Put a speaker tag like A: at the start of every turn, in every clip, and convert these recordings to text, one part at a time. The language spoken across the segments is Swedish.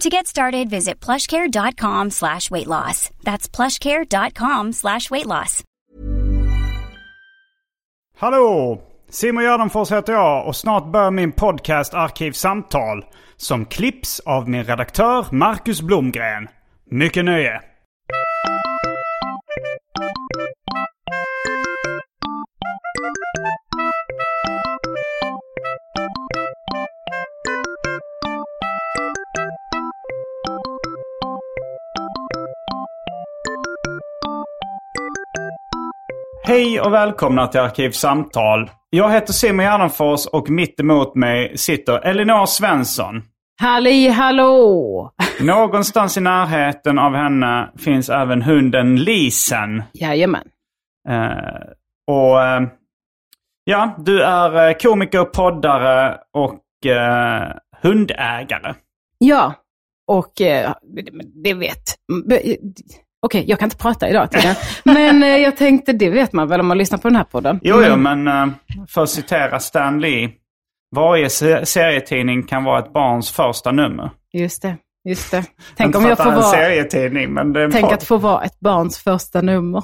A: To get started, visit plushcare.com slash weight loss. That's plushcare.com slash weight loss.
B: Hallå! Simon Gärdenfors heter jag och snart börjar min podcast Arkivsamtal som klipps av min redaktör Marcus Blomgren. Mycket nöje! Hej och välkomna till Arkivsamtal. Jag heter Simon Gärdenfors och mitt emot mig sitter Elinor Svensson.
C: Halli hallå!
B: Någonstans i närheten av henne finns även hunden Lisen.
C: Jajamän.
B: Eh, och eh, ja, du är eh, komiker, poddare och eh, hundägare.
C: Ja, och eh, det vet... eh, Okej, jag kan inte prata idag tydligen. Men eh, jag tänkte, det vet man väl om man lyssnar på den här podden?
B: Jo, jo,
C: Mm.
B: men eh, för att citera Stan Lee. Varje se- serietidning kan vara ett barns första nummer.
C: Just det, just det.
B: Inte
C: Tänk
B: för
C: om jag
B: att
C: får
B: det är en
C: vara...
B: serietidning, men det är en
C: Tänk
B: podd.
C: att få vara ett barns första nummer.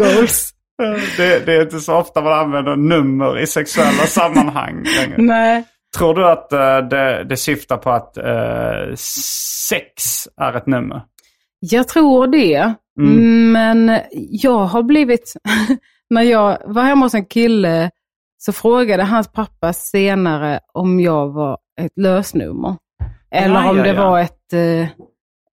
C: Goals.
B: Det, det är inte så ofta man använder nummer i sexuella sammanhang längre.
C: Nej.
B: Tror du att eh, det, det syftar på att eh, sex är ett nummer?
C: Jag tror det.
B: Mm.
C: Men jag har blivit... när jag var hemma hos en kille så frågade hans pappa senare om jag var ett lösnummer. Eller
B: Ja,
C: om
B: ja,
C: det
B: ja.
C: var ett, eh,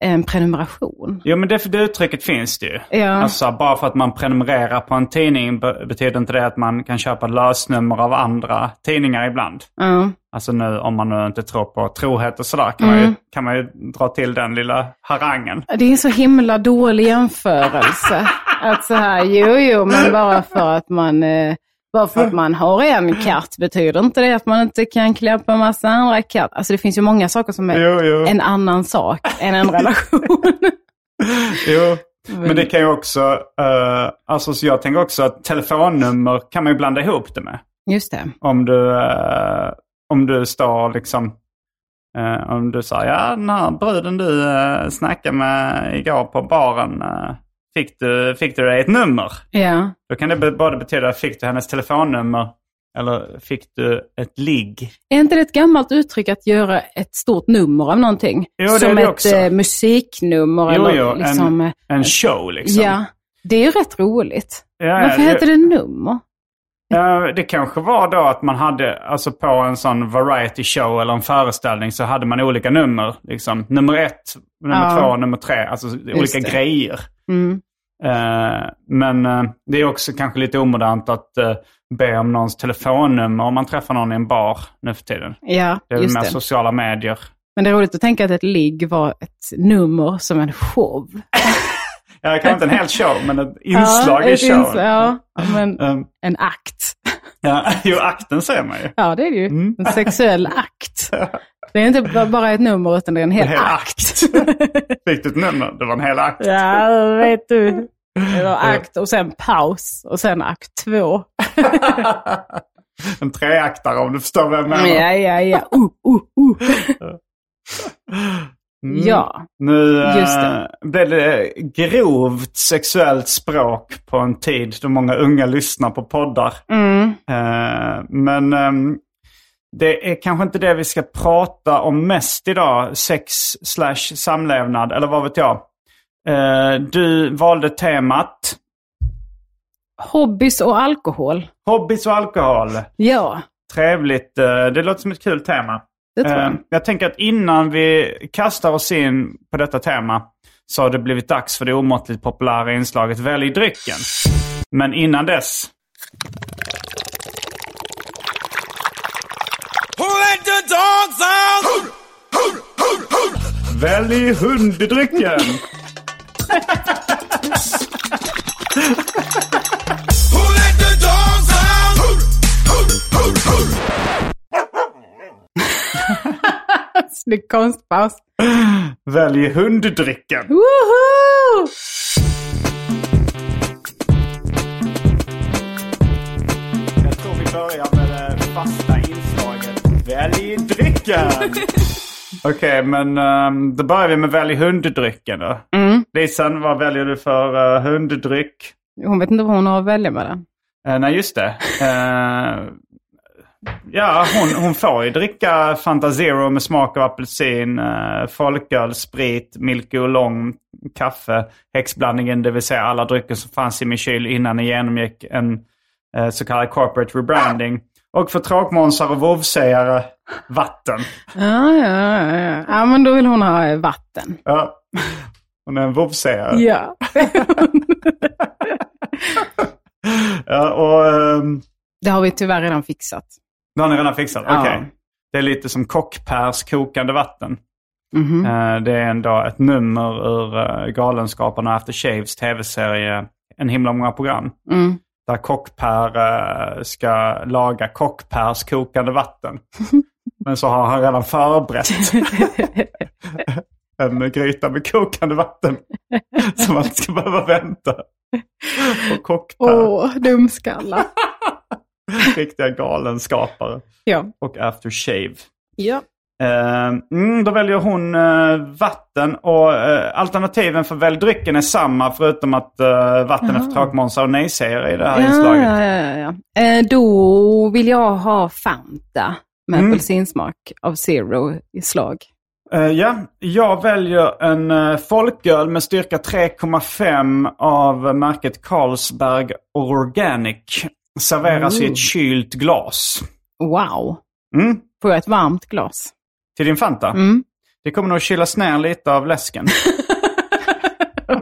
C: en prenumeration.
B: Jo, men det, det uttrycket finns det ju.
C: Ja.
B: Alltså, bara för att man prenumererar på en tidning be- betyder inte det att man kan köpa lösnummer av andra tidningar ibland.
C: Ja.
B: Alltså nu, om man nu inte tror på trohet och sådär, kan, man, ju, kan man ju dra till den lilla harangen.
C: Det är en så himla dålig jämförelse. att så här, jo, jo, men bara för att man... Eh, bara för att man har en katt betyder inte det att man inte kan klä på en massa andra katter. Alltså det finns ju många saker som är
B: Jo, jo.
C: en annan sak än en relation.
B: Jo, men det kan ju också... eh, alltså så jag tänker också att telefonnummer kan man ju blanda ihop det med.
C: Just det.
B: Om du, eh, om du står liksom... eh, om du säger ja den här bruden du uh, snackade med igår på baren, eh, fick, du, fick du dig ett nummer?
C: Ja.
B: Då kan det be- både betyda fick du hennes telefonnummer eller fick du ett ligg?
C: Är inte det ett gammalt uttryck att göra ett stort nummer av någonting?
B: Jo, det är
C: Som
B: det
C: ett
B: också.
C: eh, musiknummer
B: Jo,
C: eller
B: jo,
C: liksom... eh,
B: En show liksom.
C: Ja, det är ju rätt roligt.
B: Ja, ja,
C: Varför heter det nummer?
B: Ja, det kanske var då att man hade, alltså på en sån variety show eller en föreställning så hade man olika nummer. Liksom. Nummer ett, nummer
C: Ja.
B: två, nummer tre. Alltså olika
C: det.
B: grejer.
C: Mm.
B: Eh, men eh, det är också kanske lite omodernt att eh, be om någons telefonnummer om man träffar någon i en bar nu för tiden.
C: Ja,
B: Det är väl
C: just
B: mer
C: det.
B: sociala medier.
C: Men det är roligt att tänka att ett ligg var ett nummer som en show.
B: Ja, kanske inte en hel show, men ett inslag
C: ja,
B: i
C: ett
B: showen.
C: ins- Ja, men
B: Eh,
C: en akt.
B: ja, jo, akten säger man ju.
C: Ja, det är det ju.
B: Mm.
C: En sexuell akt. Det är inte b- bara ett nummer utan det är en hel
B: En hel
C: akt.
B: Fick du ett nummer? Det var en hel akt.
C: ja, det vet du. Det var akt och sen paus och sen akt två.
B: En treaktare om du förstår vad jag menar.
C: Ja, ja, ja. Uh, uh, uh.
B: Mm.
C: Ja,
B: Nu eh,
C: Just det.
B: blev det grovt sexuellt språk på en tid då många unga lyssnar på poddar.
C: mm.
B: Eh, men ehm, det är kanske inte det vi ska prata om mest idag. Sex slash samlevnad, eller vad vet jag. Eh, du valde temat
C: Hobbys och alkohol.
B: hobbys och alkohol.
C: Ja,
B: Trevligt. eh, Det låter som ett kul tema.
C: det tror
B: Eh,
C: jag.
B: Jag tänker att innan vi kastar oss in på detta tema så har det blivit dags för det omåttligt populära inslaget Välj drycken. Men innan dess... Välj hunddrycken!
C: Snygg konstpaus.
B: Välj hunddrycken!
C: Woho!
B: Jag tror vi börjar med det fasta inslaget. Välj drycken! Okej, men ehm, då börjar vi med välj hunddrycken då.
C: Mm.
B: Lisan, vad väljer du för eh, hunddryck?
C: Hon vet inte vad hon har att välja mellan.
B: Eh, nej, just det. Eh, ja, hon, hon får ju dricka Fanta Zero med smak av apelsin, eh, folköl, sprit, Milky Oolong, kaffe, häxblandningen, det vill säga alla drycker som fanns i min kyl innan jag genomgick en eh, så kallad corporate rebranding. Och för tråkmånsar och vovvsägare, vatten.
C: Ja, ja, ja, ja. ja, men då vill hon ha eh, vatten.
B: Ja. Hon är en vovvsägare.
C: Ja.
B: Ja, och ehm,
C: det har vi tyvärr redan fixat.
B: det har ni redan fixat?
C: Ja.
B: Okej. Det är lite som kockpärs kokande vatten.
C: Mhm.
B: Eh, Det är ändå ett nummer ur eh, Galenskaparna och After Shaves tv-serie En himla många program.
C: Mm.
B: Där kockpär eh, ska laga kockpärs kokande vatten. Men så har han redan förberett en gryta med kokande vatten. Som man ska behöva vänta på kockpär.
C: Åh, dumskallar.
B: Riktiga galenskapare.
C: ja.
B: Och After Shave.
C: ja.
B: Eh, Mm, då väljer hon eh, vatten och eh, alternativen för välj drycken är samma förutom att eh, vatten är för tråkmånsar och nej-sägare i det här
C: Ja,
B: inslaget.
C: ja, ja, ja. Eh, då vill jag ha Fanta med
B: Mm. apelsinsmak
C: apelsinsmak av Zero i slag.
B: Eh, ja, jag väljer en eh, folköl med styrka 3,5 av eh, märket Carlsberg Organic. Serveras i
C: Ooh.
B: ett kylt glas.
C: Wow.
B: Mm,
C: Får jag ett varmt glas?
B: till din Fanta.
C: Mm.
B: Det kommer nog kylas ner lite av läsken.
C: Det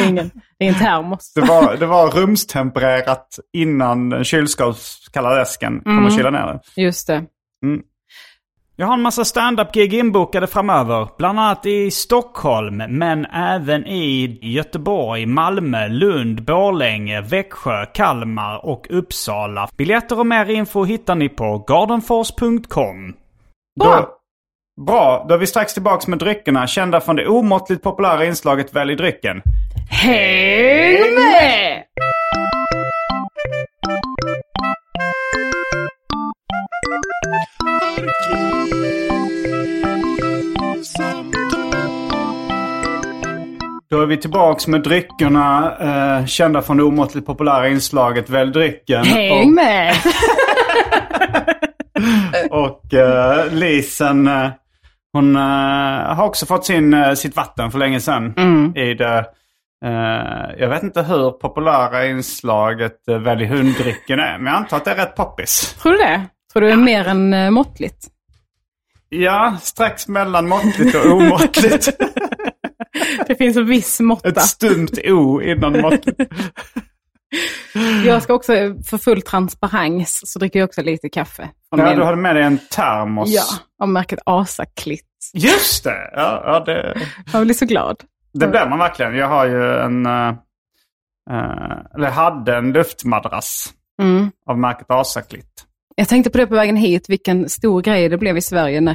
C: är, ingen, det är en termos.
B: Det var, det var rumstempererat innan den kylskåpskalla läsken kom
C: Mm.
B: och kyla ner den.
C: Just det.
B: Jag har en massa standup-gig inbokade framöver. Bland annat i Stockholm, men även i Göteborg, Malmö, Lund, Borlänge, Växjö, Kalmar och Uppsala. Biljetter och mer info hittar ni på gardenfors.com.
C: Bra.
B: Då, bra, då är vi strax tillbaks med dryckerna, kända från det omåttligt populära inslaget Välj drycken.
C: Häng med!
B: Då är vi tillbaks med dryckerna, eh, kända från det omåttligt populära inslaget Välj drycken.
C: Häng med!
B: Och, och eh, Lisen, eh, hon eh, har också fått sin, eh, sitt vatten för länge sedan. I det, eh, jag vet inte hur populära inslaget eh, Välj hunddrycken är, men jag antar att det är rätt poppis.
C: Tror du det? Tror du det är mer än eh, måttligt?
B: Ja, strax mellan måttligt och omåttligt.
C: Det finns en viss måtta.
B: Ett stumt O innan måttligt.
C: Jag ska också, eh, för full transparens, så dricker jag också lite kaffe. Från
B: Ja,
C: min-
B: du hade med dig en termos.
C: ja, av märket Asaklitt.
B: Just det! Ja, ja, det,
C: Jag blir så glad.
B: det blev man verkligen. Jag har ju en, eh, eh, eller hade en luftmadrass
C: Mm.
B: av märket Asaklitt.
C: Jag tänkte på det på vägen hit, vilken stor grej det blev i Sverige när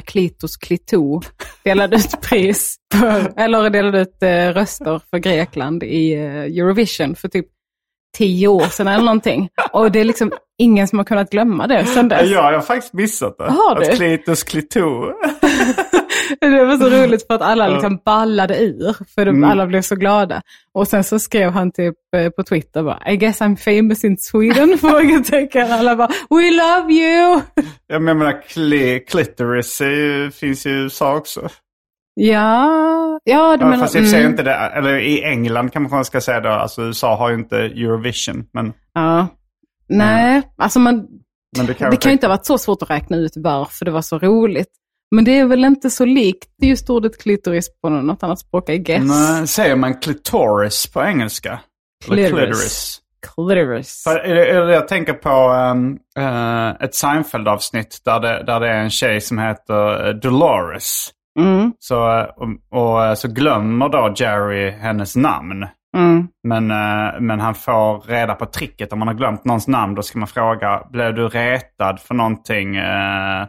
C: Klitos Klito delade ut pris, för, eller delade ut eh, röster för Grekland i eh, Eurovision för typ tio år sedan eller någonting. Och det är liksom ingen som har kunnat glömma det sedan dess.
B: Ja, jag har faktiskt missat det.
C: Har du?
B: Att Klitus klito.
C: Det var så roligt för att alla liksom ballade ur, för de,
B: Mm.
C: alla blev så glada. Och sen så skrev han typ eh, på Twitter bara, I guess I'm famous in Sweden? Frågetecken. Alla bara, we love you!
B: Jag menar, kli, clitoris är ju, finns ju i USA också.
C: Ja, Ja, du
B: Ja,
C: menar...
B: fast i och för sig
C: mm.
B: inte det, eller i England kanske man ska säga då, alltså USA har ju inte Eurovision. Men,
C: Ja. Nej, alltså man,
B: men det kan
C: det kan ju inte ha varit så svårt att räkna ut varför det var så roligt. Men det är väl inte så likt just ordet klitoris på något annat språk, I guess.
B: Nej, säger man clitoris på engelska? Eller
C: Clitoris.
B: clitoris.
C: Clitoris.
B: För, eller, eller jag tänker på ehm, eh, ett Seinfeld-avsnitt där det, där det är en tjej som heter eh, Dolores.
C: Mm,
B: Så, eh, och, och eh, så glömmer då Jerry hennes namn.
C: mm.
B: Men, eh, men han får reda på tricket. Om man har glömt någons namn då ska man fråga, blev du retad för någonting eh,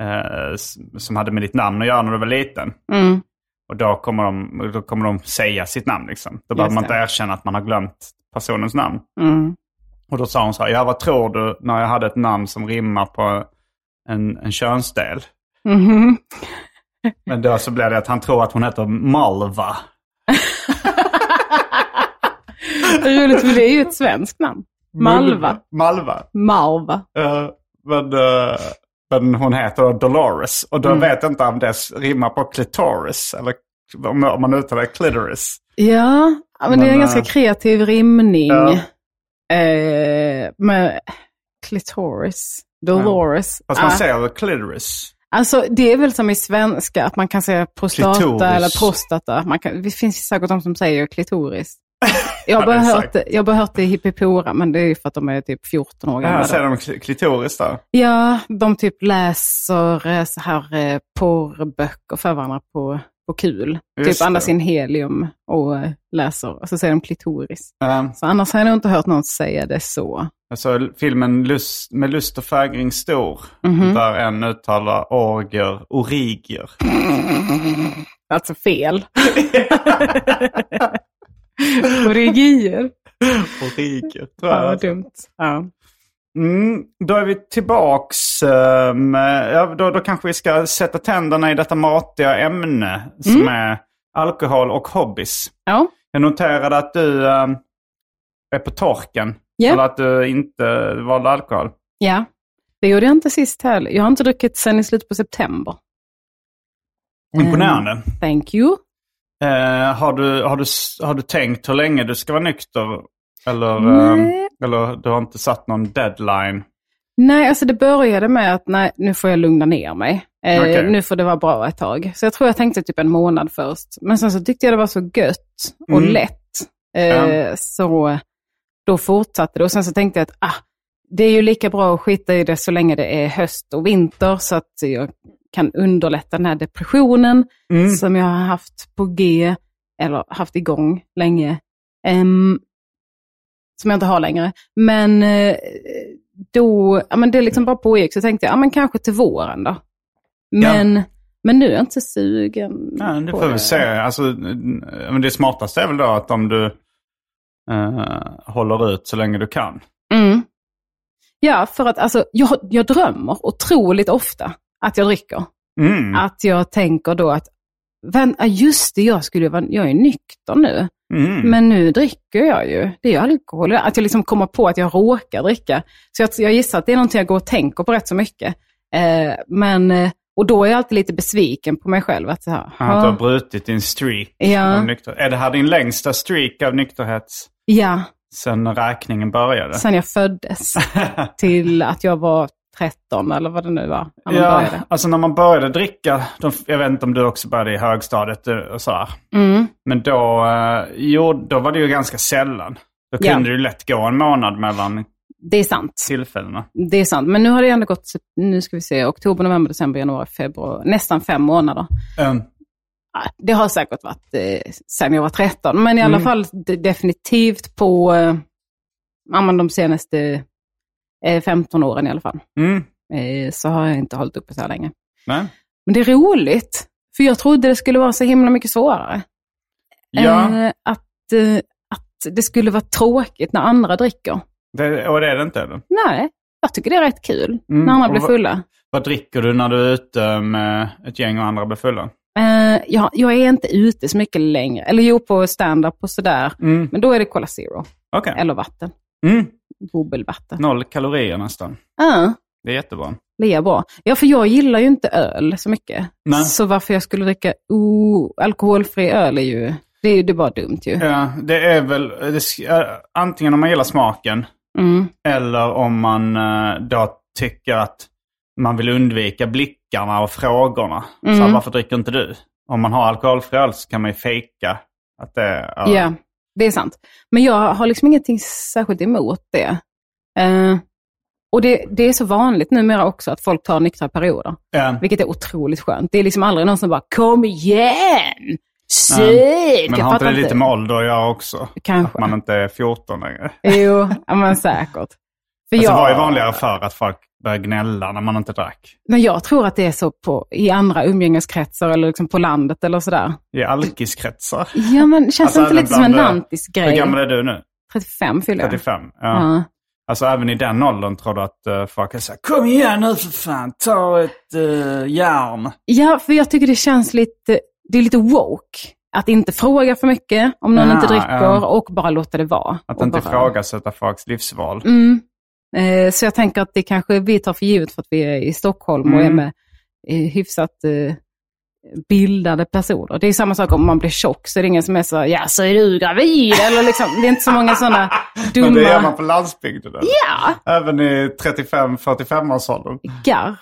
B: eh, s- som hade med ditt namn att göra när du var liten?
C: Mm.
B: Och då kommer de, då kommer de säga sitt namn. Liksom. Då behöver man
C: det.
B: inte erkänna att man har glömt personens namn.
C: Mm.
B: Och då sa hon så här, ja vad tror du när jag hade ett namn som rimmar på en, en könsdel?
C: Mhm.
B: Men då så blev det att han tror att hon heter Malva.
C: Roligt, för det är ju ett svenskt namn. Malva.
B: Malva.
C: Malva.
B: Eh, men, eh, men hon heter då Dolores. Och då
C: Mm.
B: vet jag inte om det s- rimmar på clitoris. Eller om, om man uttalar clitoris.
C: Ja, ja, men det är
B: Men,
C: en ganska
B: eh,
C: kreativ rimning.
B: ja.
C: Eh, men clitoris, Dolores.
B: Fast man
C: Ah.
B: säger väl clitoris?
C: Alltså det är väl som i svenska, att man kan säga prostata
B: Klitoris.
C: eller prostata. Man kan, det finns säkert de som säger klitoris. Jag
B: Ja,
C: har
B: det
C: bara
B: är
C: hört,
B: sagt.
C: det- jag har bara hört det i Hippipora, men det är ju för att de är typ 14 år
B: Ja,
C: gamla.
B: säger
C: då.
B: de kli- klitoris då?
C: Ja, de typ läser eh, så här eh, porrböcker för varandra på, på kul.
B: Just
C: typ andas
B: det.
C: in helium och eh, läser, och så säger de klitoris.
B: Eh,
C: Så annars har jag nog inte hört någon säga det så.
B: Alltså filmen lust, Med lust och fägring stor.
C: Mhm.
B: Där en uttalar orger, origer.
C: Alltså fel. Korrigier.
B: Origer, tror
C: Ja,
B: jag.
C: vad dumt. Ja.
B: Mm, då är vi tillbaks. eh, med- ja, då, då kanske vi ska sätta tänderna i detta matiga ämne som
C: Mm.
B: är alkohol och hobbys.
C: Ja.
B: Jag noterade att du eh, är på torken.
C: Ja.
B: Eller att du inte valde alkohol.
C: ja, det gjorde jag inte sist heller. Jag har inte druckit sedan i slutet på september.
B: Imponerande.
C: Mm. Thank you.
B: Eh, har, du, har, du, s- har du tänkt hur länge du ska vara nykter? Eller, eh,
C: Nej.
B: eller du har inte satt någon deadline?
C: Nej, alltså det började med att nej, nu får jag lugna ner mig. Eh,
B: Okej.
C: Nu får det vara bra ett tag. Så jag tror jag tänkte typ en månad först. Men sen så tyckte jag det var så gött och
B: Mm.
C: lätt. Eh,
B: Ja.
C: Så då fortsatte det. Och sen så tänkte jag att ah, det är ju lika bra att skita i det så länge det är höst och vinter. Så att jag kan underlätta den här depressionen
B: Mm.
C: som jag har haft på G, eller haft igång länge. Ehm, som jag inte har längre. Men eh, då, ja, men det liksom bara pågick, så tänkte jag, ja men kanske till våren då. Men, men nu är jag inte sugen.
B: Ja, det
C: på
B: får vi se. Alltså, eh, men det smartaste är väl då att om du eh, håller ut så länge du kan.
C: Mm. Ja, för att alltså, jag, jag drömmer otroligt ofta att jag dricker.
B: Mm.
C: Att jag tänker då att, vän, ja, just det, jag, skulle, ju vara- jag är nykter nu.
B: Mm.
C: Men nu dricker jag ju. Det är ju alkohol. Att jag liksom kommer på att jag råkar dricka. Så jag, jag gissar att det är någonting jag går och tänker på rätt så mycket. Eh, men, eh, och då är jag alltid lite besviken på mig själv. Att, så här,
B: Att du har
C: "Ha,
B: brutit din streak
C: Ja.
B: av nykter. Är det här din längsta streak av nykterhet
C: ja,
B: sen räkningen började?
C: sen jag föddes till att jag var 13 eller vad det nu var. När man
B: ja,
C: började.
B: alltså när man började dricka, de, jag vet inte om du också började i högstadiet eh, och sådär.
C: Mm.
B: Men då, eh, jo, då var det ju ganska sällan. Då kunde
C: Ja.
B: det ju lätt gå en månad mellan
C: Det är sant.
B: tillfällena.
C: Det är sant. Men nu har det ändå gått, nu ska vi se, oktober, november, december, januari, februari. Nästan fem månader.
B: Um,
C: Ja, det har säkert varit eh, sen jag var 13, men i
B: Mm.
C: alla fall de- definitivt på eh, ja, men de senaste eh, 15 åren i alla fall.
B: mm,
C: Eh, så har jag inte hållit uppe så här länge.
B: nej.
C: Men det är roligt, för jag trodde det skulle vara så himla mycket svårare.
B: Ja,
C: Eh, att, eh, att det skulle vara tråkigt när andra dricker.
B: det, och det är det inte eller?
C: Nej, jag tycker det är rätt kul
B: Mm,
C: när andra
B: och
C: blir
B: vad-
C: fulla.
B: Vad dricker du när du är ute med ett gäng och andra blir fulla?
C: Eh, jag, jag är inte ute så mycket längre. Eller jo, på stand-up och sådär.
B: Mm,
C: Men då är det Cola Zero,
B: Okej.
C: eller vatten.
B: Mm,
C: bubbelvatten.
B: noll kalorier nästan.
C: Ja,
B: Det är jättebra.
C: Det är bra. Ja, för jag gillar ju inte öl så mycket.
B: Nej.
C: Så varför jag skulle dricka o- alkoholfri öl är ju, det är ju det är bara dumt ju.
B: Ja, det är väl det, sk- eh, antingen om man gillar smaken
C: Mm.
B: eller om man eh, då tycker att man vill undvika blickarna och frågorna. Så
C: Mm.
B: här, varför dricker inte du? Om man har alkoholfri öl så kan man ju fejka att det är...
C: Ja, det är sant. Men jag har liksom ingenting särskilt emot det. Eh, och det, det är så vanligt numera också att folk tar nyktra perioder,
B: Ja.
C: vilket är otroligt skönt. Det är liksom aldrig någon som bara ”Kom igen! Sök!”
B: Men
C: Jag
B: har inte
C: fattar
B: det lite med ålder att göra också? Att
C: Kanske.
B: man inte är 14 längre.
C: Jo, ja, men säkert. För
B: Alltså,
C: jag-
B: det var ju vanligare för att folk började gnälla när man inte drack.
C: Men jag tror att det är så på, i andra umgängeskretsar eller liksom på landet eller sådär.
B: I alkiskretsar.
C: Ja, men känns
B: Alltså,
C: det inte
B: även
C: lite som en
B: bland, eh, Hur
C: lantisgrej?
B: gammal är du nu?
C: 35 fyller jag.
B: 35? Ja.
C: Ja.
B: Alltså även i den åldern tror du att uh, folk är såhär, kom igen nu för fan, ta ett eh, järn.
C: ja, för jag tycker det känns lite, det är lite woke. Att inte fråga för mycket om någon
B: Ja,
C: inte dricker
B: ja.
C: och bara låta det vara.
B: Att
C: Och
B: inte
C: bara...
B: ifrågasätta folks livsval.
C: Mm. Eh, så jag tänker att det kanske vi tar för givet för att vi är i Stockholm och är
B: Mm.
C: med eh, hyfsat eh, bildade personer. Det är samma sak om man blir tjock så är det ingen som är så ja så är du gravid eller liksom. Det är inte så många sådana dumma...
B: Men det gör man på landsbygden. eller?
C: Ja,
B: Även i 35-45-årsåldern.
C: garr.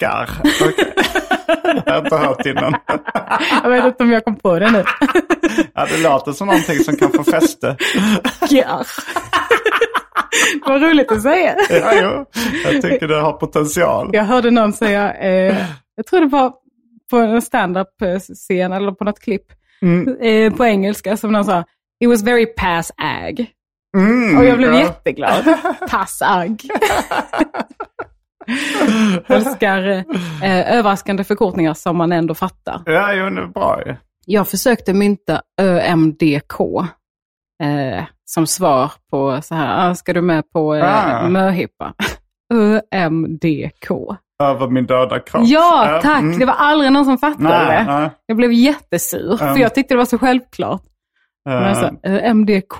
B: Garr. Okej. Jag har inte hört innan.
C: Jag vet inte om jag kom på det nu.
B: Ja, det låter som någonting som kan få fäste.
C: Garr. Vad roligt att säga.
B: Ja, jo. Jag tycker det har potential.
C: Jag hörde någon säga, eh, jag tror det var på en stand-up-scen eller på något klipp,
B: Mm.
C: eh, på engelska, som någon sa It was very pass-ag.
B: Mm,
C: Och jag blev
B: ja.
C: jätteglad. Pass-ag. Älskar eh, överraskande förkortningar som man ändå fattar.
B: Ja, jo, det är bra ju.
C: Jag försökte mynta ÖMDK eh, som svar på så här, ah, ska du med på eh,
B: Ah.
C: möhippa? ÖMDK.
B: Över min döda kropp.
C: Ja, tack!
B: mm.
C: Det var aldrig någon som fattade
B: Nej,
C: det.
B: nej.
C: Jag blev jättesur, för
B: Mm.
C: jag tyckte det var så självklart. Men jag
B: Eh,
C: sa, eh, MDK.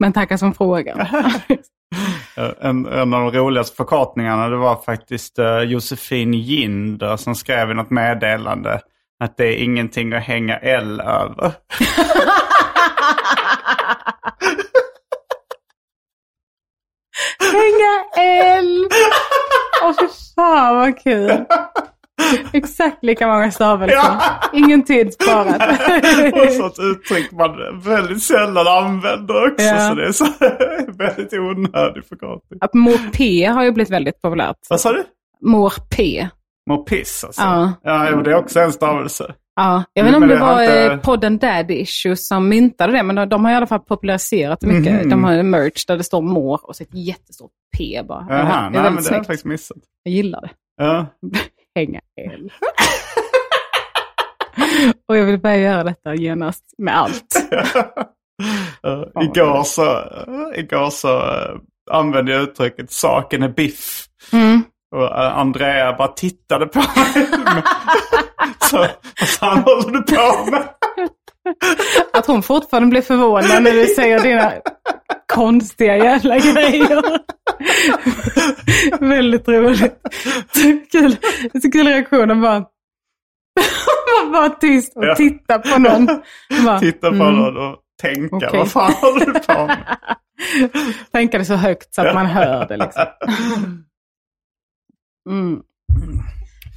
C: Men tackar som frågan.
B: Eh, En, en av de roligaste förkortningarna det var faktiskt uh, Josefin Ginder som skrev i något meddelande att det är ingenting att hänga L över.
C: Hänga eld! Åh fy fan vad kul. Exakt lika många stavelser. Ingen tid sparat.
B: Och så ett uttryck man väldigt sällan använder också.
C: Ja.
B: Så det är så väldigt onödig förkortning.
C: Att mor P har ju blivit väldigt populärt.
B: Vad sa du?
C: Mor P.
B: Må piss alltså.
C: Ja.
B: ja, jo, det är också en stavelse.
C: Ja, jag vet inte om
B: Mm, Men
C: det
B: det har
C: var
B: inte-
C: eh, podden Dad Issues som myntade det, men de, de har i alla fall populariserat det mycket.
B: Mhm.
C: De har en merch där det står mår och så ett jättestort P bara.
B: Jaha,
C: det är
B: nej, men det
C: väldigt
B: har jag
C: snyggt.
B: faktiskt missat.
C: Jag gillar det.
B: Ja.
C: Hänga el. och jag vill börja göra detta genast med allt.
B: Eh, igår så, eh, igår så eh, använde jag uttrycket saken är biff.
C: Mm.
B: Och eh, Andrea bara tittade på mig. så vad fan håller du på med?
C: Att hon fortfarande blir förvånad när du säger dina konstiga jävla grejer. Väldigt roligt. Så kul, så kul reaktion. att bara, man bara tyst och
B: Ja.
C: titta på någon. Bara,
B: Titta på någon och tänka
C: Mm. Okej.
B: vad fan håller du på med?
C: Tänka det mm. så högt så att man hör det. Liksom. Mm.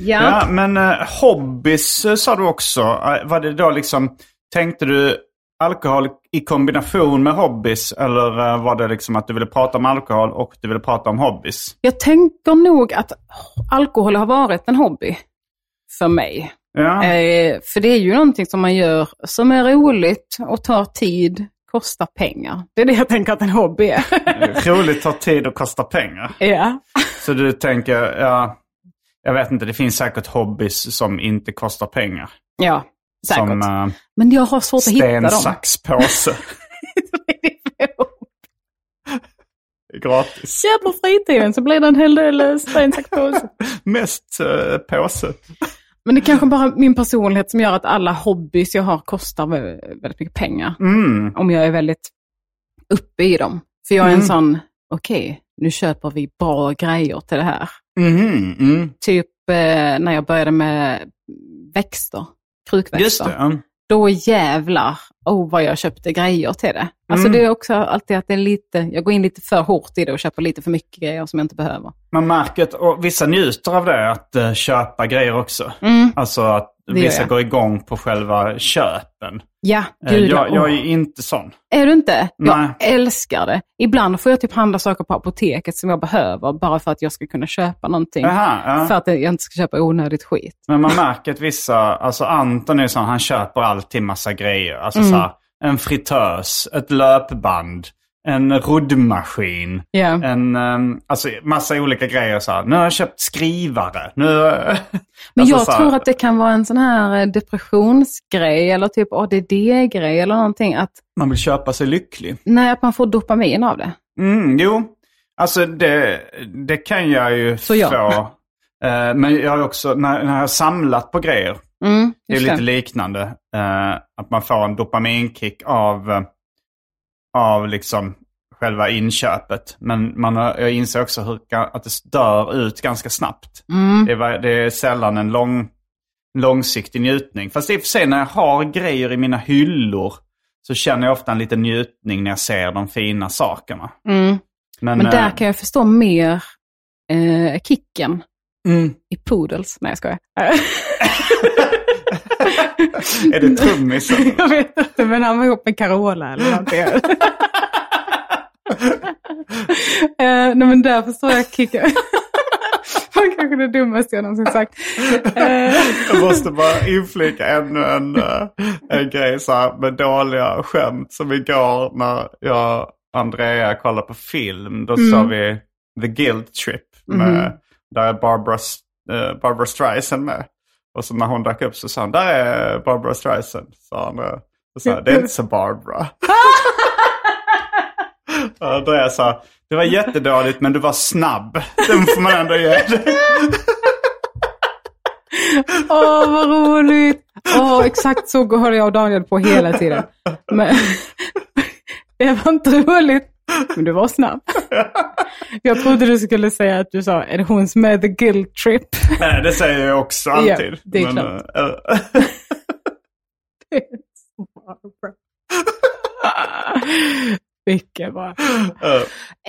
C: Ja.
B: Ja, men eh, hobbys eh, sa du också. Eh, var det då liksom, tänkte du alkohol i kombination med hobbys? Eller eh, var det liksom att du ville prata om alkohol och du ville prata om hobbys?
C: Jag tänker nog att alkohol har varit en hobby för mig.
B: Ja.
C: Eh, för det är ju någonting som man gör som är roligt och tar tid, kostar pengar. Det är det jag tänker att en hobby är.
B: Roligt tar tid och kostar pengar.
C: ja.
B: Så du tänker, ja, jag vet inte, det finns säkert hobbys som inte kostar pengar.
C: ja, säkert.
B: Som eh,
C: Men jag har svårt att hitta
B: sten,
C: dem.
B: sax, påse. Gratis.
C: Kör på fritiden så blir det en hel del eh, sten, sax, påse.
B: Mest uh, påse.
C: Men det är kanske bara min personlighet som gör att alla hobbys jag har kostar vä- väldigt mycket pengar.
B: Mm.
C: om jag är väldigt uppe i dem. För jag är en
B: Mm.
C: sån, okej, nu köper vi bra grejer till det här.
B: Mhm, mm.
C: Typ eh, när jag började med växter, krukväxter.
B: Just det. ja.
C: Då jävlar, oh vad jag köpte grejer till det. Alltså
B: Mm.
C: det är också alltid att det är lite, jag går in lite för hårt i det och köper lite för mycket grejer som jag inte behöver.
B: Man märker att och vissa njuter av det, att eh, köpa grejer också.
C: Mm.
B: Alltså att
C: Det gör
B: vissa
C: jag.
B: går igång på själva köpen.
C: Ja,
B: Eh,
C: gud
B: jag,
C: ja.
B: jag
C: Åh.
B: är ju inte sån.
C: Är du inte?
B: Nej.
C: Jag älskar det. Ibland får jag typ handla saker på apoteket som jag behöver bara för att jag ska kunna köpa någonting.
B: Aha, ja.
C: För att jag inte ska köpa onödigt skit.
B: Men man märker att vissa, alltså Anton är sån, han köper alltid massa grejer. Alltså
C: Mm.
B: så här, en fritös, ett löpband, en roddmaskin.
C: Ja.
B: En, ehm, alltså massa olika grejer så här. Nu har jag köpt skrivare. Nu,
C: Men
B: alltså,
C: jag
B: så här,
C: tror att det kan vara en sån här eh, depressionsgrej eller typ ADD-grej eller någonting. Att,
B: Man vill köpa sig lycklig.
C: nej, att man får dopamin av det.
B: Mm, jo. Alltså det, det kan jag ju
C: Så ja.
B: få. Eh, men jag har också, när, när jag har samlat på grejer,
C: Mm,
B: det är
C: just
B: lite liknande. eh, att man får en dopaminkick av, eh, av liksom själva inköpet. Men man har, jag inser också hur, ga- att det dör ut ganska snabbt.
C: Mm.
B: Det, var, det är sällan en lång, långsiktig njutning. Fast i och för sig när jag har grejer i mina hyllor så känner jag ofta en liten njutning när jag ser de fina sakerna.
C: Mm.
B: Men,
C: Men där
B: eh,
C: kan jag förstå mer eh, kicken
B: mm.
C: i poodles. Nej, jag skojar.
B: Är det trummisen?
C: jag vet inte, men han var ihop med Carola eller någonting. Eh, nej, men där förstår jag kicken. Det var kanske det dummaste jag någonsin sagt. Eh,
B: Jag måste bara inflika ännu en, eh, en grej så här med dåliga skämt. Som igår när jag och Andrea kollade på film. Då såg vi The Guilt Trip. Med, Där är Barbara, S- eh, Barbara Streisand med. Och så när hon dök upp så sa hon, där är Barbara Streisand. Sa han, eh, och sa, det är inte så Barbara. Och Andrea sa, det var jättedåligt men du var snabb. Den får man ändå ge dig.
C: Åh, vad roligt! Åh, exakt så höll jag och Daniel på hela tiden. Men, det var inte roligt, men du var snabb. Jag trodde du skulle säga att du sa, är det hon som är the guilt trip?
B: Nej, Eh, det säger jag också
C: Ja,
B: alltid.
C: det är klart.
B: eh, eh,
C: Vilken bra.
B: eh,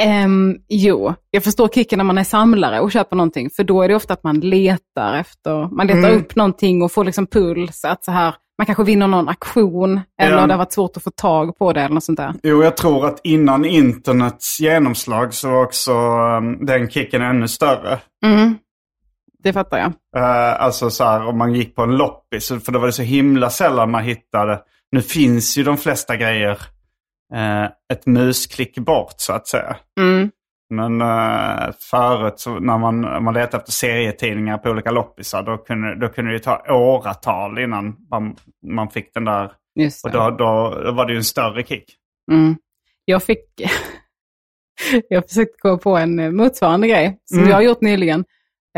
C: Um, jo, jag förstår kicken när man är samlare och köper någonting, för då är det ofta att man letar efter, man letar
B: Mm.
C: upp någonting och får liksom puls, att så här, man kanske vinner någon aktion, eller
B: Ja.
C: det har varit svårt att få tag på det eller något sånt där.
B: jo, jag tror att innan internets genomslag så var också eh, den kicken ännu större.
C: Mm. Det fattar jag.
B: Eh, alltså så här om man gick på en loppis, för då var det så himla sällan man hittade. Nu finns ju de flesta grejer eh, ett musklick bort så att säga.
C: Mm.
B: Men eh, förut så när man, om man letade efter serietidningar på olika loppisar då kunde, då kunde det ju ta åratal innan man, man fick den där.
C: Just
B: Och
C: det.
B: då, då, då var det ju en större kick.
C: Mm. Jag fick... jag försökte gå på en eh, motsvarande grej som
B: Mm.
C: jag har gjort nyligen.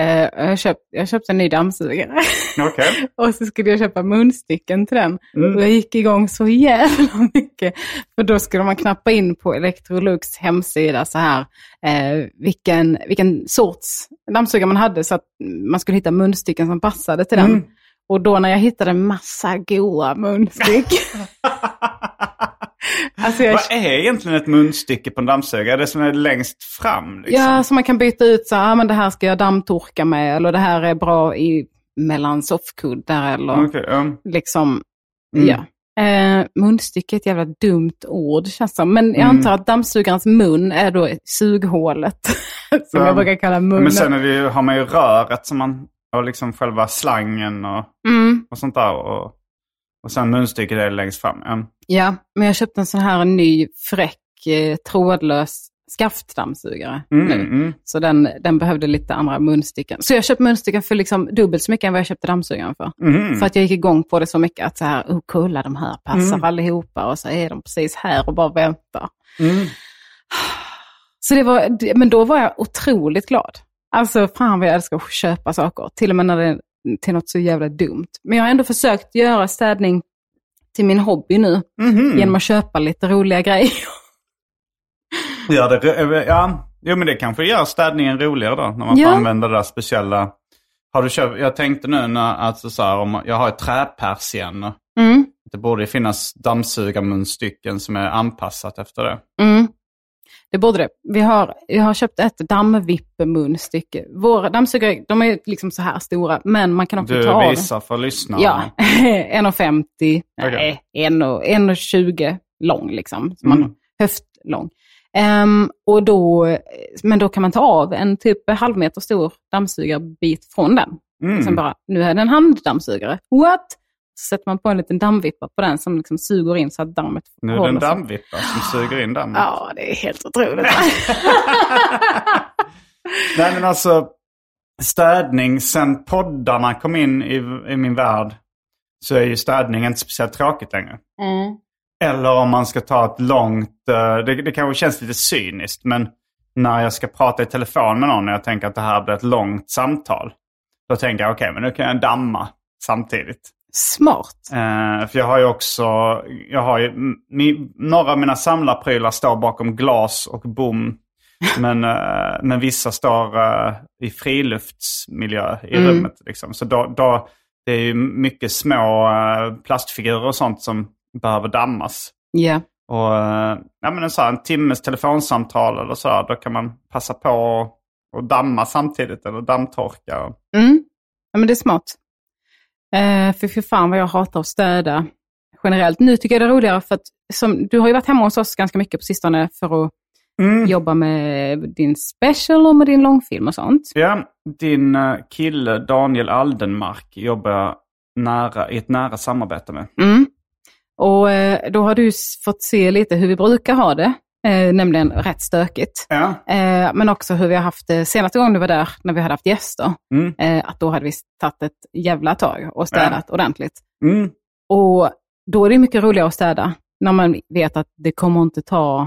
C: Eh, jag, köpt, jag köpte en ny dammsugare
B: Okej.
C: och så skulle jag köpa munstycken till den.
B: Mm.
C: Och jag gick igång så jävla mycket. För då skulle man knappa in på Electrolux hemsida så här eh, vilken, vilken sorts dammsugare man hade så att man skulle hitta munstycken som passade till den.
B: Mm.
C: Och då när jag hittade en massa goa munstyck. alltså jag,
B: Vad är egentligen ett munstycke på en dammsugare? Det som är längst fram? Liksom.
C: ja, så man kan byta ut så här, "Ah, men det här ska jag dammtorka med eller det här är bra i, mellan soffkuddar eller
B: Okej, ja.
C: liksom,
B: Mm.
C: ja. Eh, munstycke är ett jävla dumt ord känns som. Men jag
B: Mm.
C: antar att dammsugarens mun är då sughålet. som
B: Ja.
C: jag brukar kalla munnen.
B: Men sen är det ju, har man ju röret som man, och liksom själva slangen och,
C: mm,
B: och sånt där. Och, och sen munstycket är längst fram. Ja.
C: ja, men jag köpte en sån här ny fräck eh, trådlös skaftdammsugare
B: Mm,
C: nu.
B: mm.
C: Så den, den behövde lite andra munstycken. Så jag köpte munstycken för liksom dubbelt så mycket än vad jag köpte dammsugaren för.
B: Mm.
C: För att jag gick igång på det så mycket att så här, oh kolla de här passar allihopa och så är de precis här och bara väntar.
B: Mm.
C: Så det var, det- men då var jag otroligt glad. Alltså fan vad jag älskar att köpa saker, till och med när det är till något så jävla dumt. Men jag har ändå försökt göra städning till min hobby nu,
B: Mhm.
C: genom att köpa lite roliga grejer.
B: eh, Ja, det, ja, Jo, men det kanske gör städningen roligare då, när man
C: Ja.
B: får använda det där speciella. Har du köpt, jag tänkte nu när, alltså så här, om jag har ett träpersienner.
C: Mm,
B: Det borde ju finnas dammsugarmunstycken som är anpassat efter det.
C: mm. Det borde det. Vi har, jag har köpt ett dammvippemunstycke. Våra dammsugare, de är liksom så här stora, men man kan också
B: Du
C: ta av dem.
B: visar för lyssnarna.
C: Ja, 1,50, nej,
B: Okej.
C: 1,20 lång liksom. Så man
B: Mm.
C: höftlång. Ehm, och då, men då kan man ta av en typ halvmeter stor dammsugarbit från den.
B: Mm.
C: Och sen bara, nu är det en handdammsugare. What? Så sätter man på en liten dammvippa på den som liksom suger in så att dammet
B: Nu är det en dammvippa som suger in dammen.
C: Ja, det är helt otroligt.
B: Nej men alltså, städning, sen poddarna kom in i, i min värld så är ju städning inte speciellt tråkigt längre.
C: mm.
B: Eller om man ska ta ett långt, eh, det, det kanske känns lite cyniskt men när jag ska prata i telefon med någon och jag tänker att det här blir ett långt samtal. Då tänker jag okej men nu kan jag damma samtidigt.
C: Smart.
B: Eh, för jag har ju också, jag har ju, m- mi, några av mina samlarprylar står bakom glas och bom. Men, eh, men vissa står eh, i friluftsmiljö i
C: Mm.
B: rummet. Liksom. Så då, då, det är ju mycket små eh, plastfigurer och sånt som behöver dammas.
C: Ja,
B: Och eh, ja, men en, så här, en timmes telefonsamtal eller så, här, då kan man passa på och, och damma samtidigt eller dammtorka.
C: mm. ja men det är smart. Eh, för fy fan vad jag hatar att städa generellt. Nu tycker jag det är roligare för att som, du har ju varit hemma hos oss ganska mycket på sistone för att
B: Mm.
C: jobba med din special och med din långfilm och sånt.
B: Ja, din eh, kille Daniel Aldenmark jobbar jag nära, i ett nära samarbete med.
C: Mm. Och eh, då har du s- fått se lite hur vi brukar ha det, eh, nämligen rätt stökigt.
B: Ja.
C: Eh, men också hur vi har haft det senaste gången du var där, när vi hade haft gäster,
B: Mm.
C: eh, att då hade vi tagit ett jävla tag och städat ordentligt.
B: Mm.
C: Och då är det mycket roligare att städa, när man vet att det kommer inte ta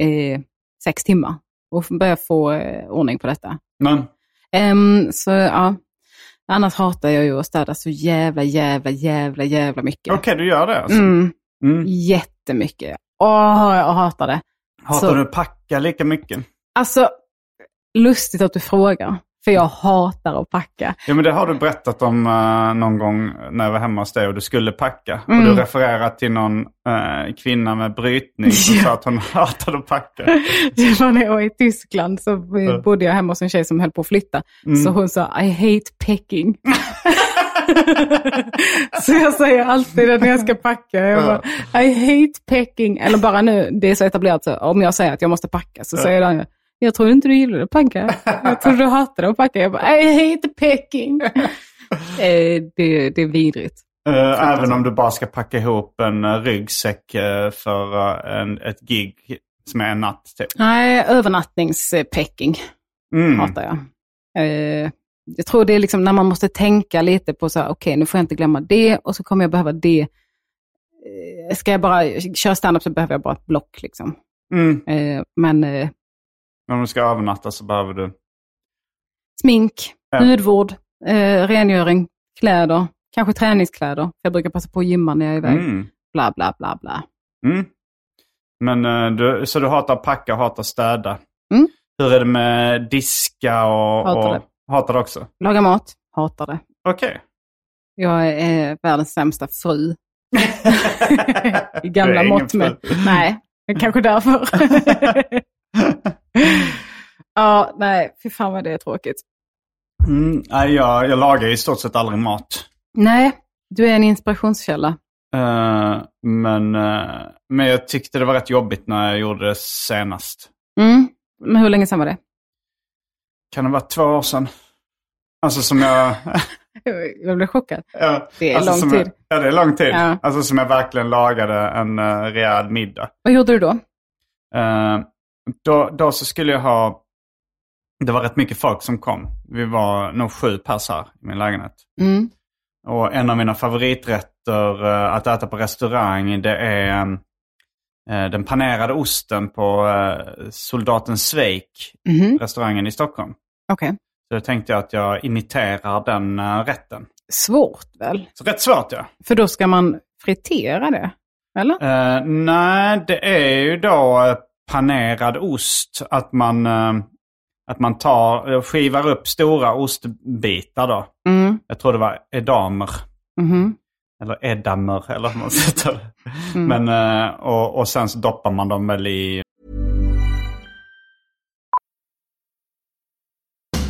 C: eh, sex timmar och f- börja få eh, ordning på detta.
B: Men,
C: Ehm, så ja, annars hatar jag ju att städa så jävla, jävla, jävla, jävla mycket.
B: Okej, du gör det alltså.
C: Mm.
B: Mm.
C: Jättemycket. Åh, jag hatar det.
B: Hatar
C: Så-
B: du att packa lika mycket?
C: Alltså, lustigt att du frågar. För jag hatar att packa.
B: Ja, men det har du berättat om eh, någon gång när jag var hemma hos dig och du skulle packa.
C: Mm.
B: Och du refererar till någon eh, kvinna med brytning som
C: Ja.
B: sa att hon hatade att packa.
C: Det var när jag var i Tyskland så eh, bodde jag hemma hos en tjej som höll på att flytta.
B: Mm.
C: Så hon sa, I hate packing. så jag säger alltid det när jag ska packa.
B: Ja.
C: Jag bara, I hate packing. Eller bara nu, det är så etablerat, så om jag säger att jag måste packa så säger den, jag tror inte du gillade att packa. Jag tror du hatade att packa. Jag bara, I hate packing. Eh, det, det är vidrigt.
B: Eh, även om du bara ska packa ihop en eh, ryggsäck eh, för eh, en, ett gig som är en natt. Typ.
C: Nej, övernattningspacking
B: Mm.
C: hatar jag. Eh, jag tror det är liksom när man måste tänka lite på så här, okej nu får jag inte glömma det och så kommer jag behöva det. Eh, ska jag bara köra stand-up så behöver jag bara ett block liksom.
B: Mm.
C: Eh, men eh,
B: Om du ska övernatta så behöver du...
C: smink,
B: Ja.
C: hudvård, eh, rengöring, kläder, kanske träningskläder. För Jag brukar passa på att gymma när jag är iväg.
B: Mm.
C: Bla, bla, bla, bla.
B: Mm. Men, eh, du, så du hatar packa och hatar städa.
C: Mm.
B: Hur är det med diska och...
C: Hatar
B: och,
C: det.
B: Hatar det också?
C: Laga mat, hatar det.
B: Okej.
C: Jag är eh, världens sämsta fru. I gamla
B: Det är ingen
C: mått med.
B: fru.
C: Nej, det är kanske därför. ja, nej, fy fan vad det är tråkigt.
B: Mm. Nej, jag, jag lagar i stort sett aldrig mat.
C: Nej, du är en inspirationskälla.
B: Eh, men, eh, men jag tyckte det var rätt jobbigt när jag gjorde det senast.
C: Mm. Men hur länge sedan var det?
B: Kan det vara två år sedan? Alltså som jag...
C: Jag blev chockad.
B: Ja,
C: Det är lång
B: Alltså som
C: tid.
B: Jag, ja, det är lång tid.
C: Ja.
B: Alltså som jag verkligen lagade en uh, rejäl middag.
C: Vad gjorde du då?
B: Eh, då, då så skulle jag ha... Det var rätt mycket folk som kom. Vi var nog sju pers här i min lägenhet.
C: Mm.
B: Och en av mina favoriträtter eh, att äta på restaurang det är mm, eh, den panerade osten på eh, Soldaten Sveik,
C: Mhm.
B: restaurangen i Stockholm.
C: Okej.
B: Så då tänkte jag att jag imiterar den eh, rätten.
C: Svårt väl?
B: Så rätt svårt ja.
C: För då ska man fritera det, eller?
B: Eh, nej, det är ju då eh, panerad ost. Att man, eh, Att man tar, eh, skivar upp stora ostbitar då.
C: Mm.
B: Jag tror det var edamer.
C: Mhm.
B: Eller edamer eller hur man sätter det.
C: Mm.
B: Men, eh, och, och sen så doppar man dem väl i...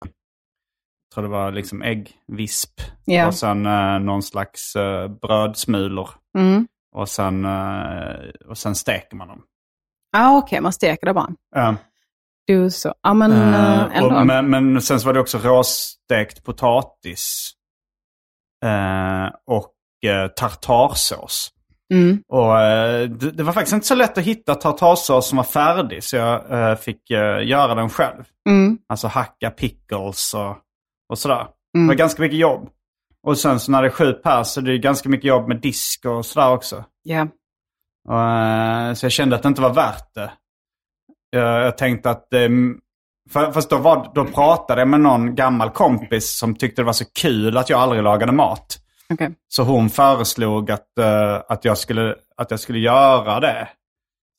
B: Jag tror det var liksom äggvisp.
C: Ja.
B: Och sen eh, någon slags eh, brödsmulor.
C: Mm.
B: Och sen, eh, och sen steker man dem.
C: Ah, Okej, man steker det bara.
B: Eh,
C: Du så. Ja, men
B: eh,
C: eh, ändå.
B: och, men, men sen så var det också råstekt potatis. eh, och eh, tartarsås.
C: Mm.
B: Och, eh, det, det var faktiskt inte så lätt att hitta tartarsås som var färdig så jag eh, fick eh, göra den själv.
C: Mm.
B: Alltså hacka pickles och, och sådär. Det
C: Mm.
B: var ganska mycket jobb. Och sen så när det är sju pers så det är ganska mycket jobb med disk och sådär också.
C: Ja.
B: Och, eh, så jag kände att det inte var värt det. Jag, jag tänkte att... eh, fa- Fast då, var, då pratade jag med någon gammal kompis som tyckte det var så kul att jag aldrig lagade mat.
C: Okej.
B: Så hon föreslog att, eh, att, jag skulle, att jag skulle göra det.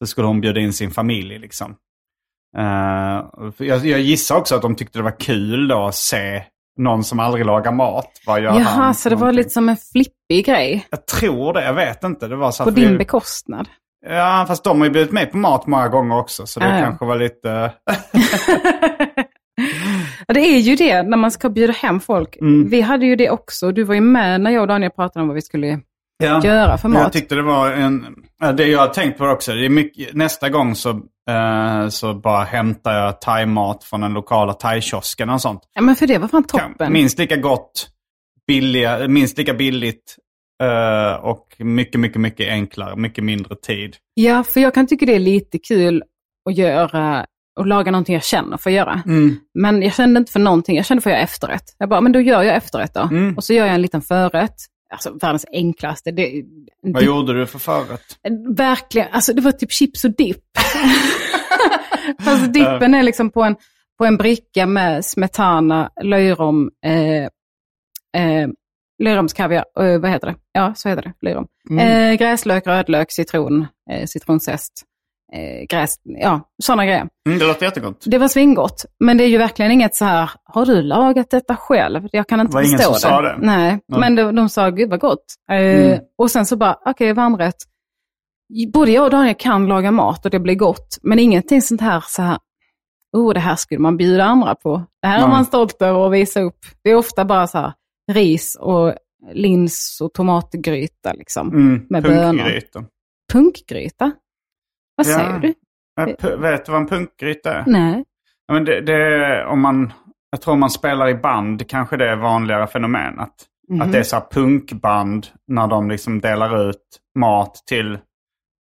B: Så skulle hon bjuda in sin familj. liksom. Eh, för jag, jag gissar också att de tyckte det var kul då att se någon som aldrig lagar mat. Vad gör
C: Jaha,
B: han?
C: så det var
B: Någonting.
C: lite som en flippig grej.
B: Jag tror det, jag vet inte. Det var så
C: På
B: att vi-
C: din bekostnad.
B: Ja, fast de har ju bjudit mig på mat många gånger också. Så det
C: Ah, Ja, ja.
B: kanske var lite...
C: Ja, det är ju det när man ska bjuda hem folk.
B: Mm.
C: Vi hade ju det också. Du var ju med när jag och Daniel pratade om vad vi skulle
B: Ja.
C: göra för
B: Jag
C: mat.
B: tyckte det var en... ja, Det jag har tänkt på också, det är mycket, nästa gång så, eh, så bara hämtar jag thaimat från den lokala thaikiosken och sånt.
C: Ja, men för det var fan
B: Kan-
C: toppen.
B: Minst lika gott, billiga, minst lika billigt eh, och mycket, mycket, mycket enklare, mycket mindre tid.
C: Ja, för jag kan tycka det är lite kul att göra och laga någonting jag känner för att göra. Men jag kände inte för någonting. Jag kände för att göra efterrätt. Jag bara, men då gör jag efterrätt då.
B: Mm.
C: Och så gör jag en liten förrätt. Alltså världens enklaste. Det,
B: Vad gjorde du för förrätt?
C: Verkligen. Alltså det var typ chips och dipp. Fast dippen är liksom på en, på en bricka med smetana, löjrom, eh, eh, löjromskaviar, eh, vad heter det? Ja, så heter det, löjrom.
B: Mm.
C: Eh, gräslök, rödlök, citron, eh, citronzest, eh, gräs, ja, sådana grejer.
B: Mm, det låter jättegott.
C: Det var svingott, men det är ju verkligen inget så här, har du lagat detta själv? Jag kan inte
B: Det var ingen
C: förstå
B: som
C: det.
B: sa det.
C: Nej,
B: Nej.
C: men de, de sa, gud vad gott. Eh,
B: Mm.
C: Och sen så bara, okej, varmrätt. Både jag och Daniel kan laga mat och det blir gott, men ingenting sånt här så här, oh, det här skulle man bjuda andra på. Det här är
B: Nej.
C: man stolt över att visa upp. Det är ofta bara så här, ris och lins och tomatgryta liksom.
B: Mm,
C: Med
B: punkgryta.
C: Punkgryta? Vad
B: Ja.
C: säger du?
B: Eh, pu- Vet du vad en punkgryta är?
C: Nej.
B: Ja, men det, det, om man, jag tror om man spelar i band kanske det är vanligare fenomen. Att,
C: Mhm.
B: att det är så här punkband när de liksom delar ut mat till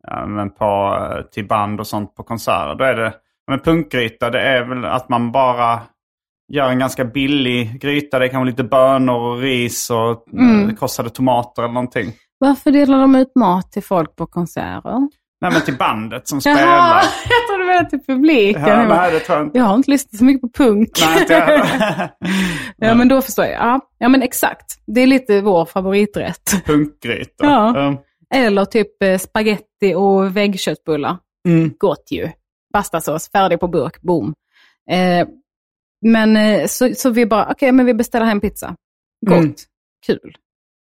B: ja, men på, eh, till band och sånt på konserter. Då är det, men punkgryta det är väl att man bara gör en ganska billig gryta. Det kan vara lite bönor och ris och
C: Mm.
B: mm. krossade tomater eller någonting.
C: Varför delar de ut mat till folk på konserter?
B: Nej men till bandet som
C: Jaha,
B: spelar.
C: jag trodde du menade till publiken.
B: Ja,
C: Jag bara,
B: nej, det tror jag inte.
C: jag har inte lyssnat så mycket på punk.
B: Nej, inte jag heller.
C: ja, men då förstår jag. Ja, ja, men exakt. Det är lite vår favoriträtt.
B: Punkgryta.
C: Ja.
B: Mm.
C: Eller typ eh, spaghetti och väggköttbullar.
B: Mm.
C: Gott ju. Pastasås, färdig på burk, boom. Eh, men eh, så, så vi bara, okej, men vi beställer hem pizza. Gott,
B: Mm.
C: kul.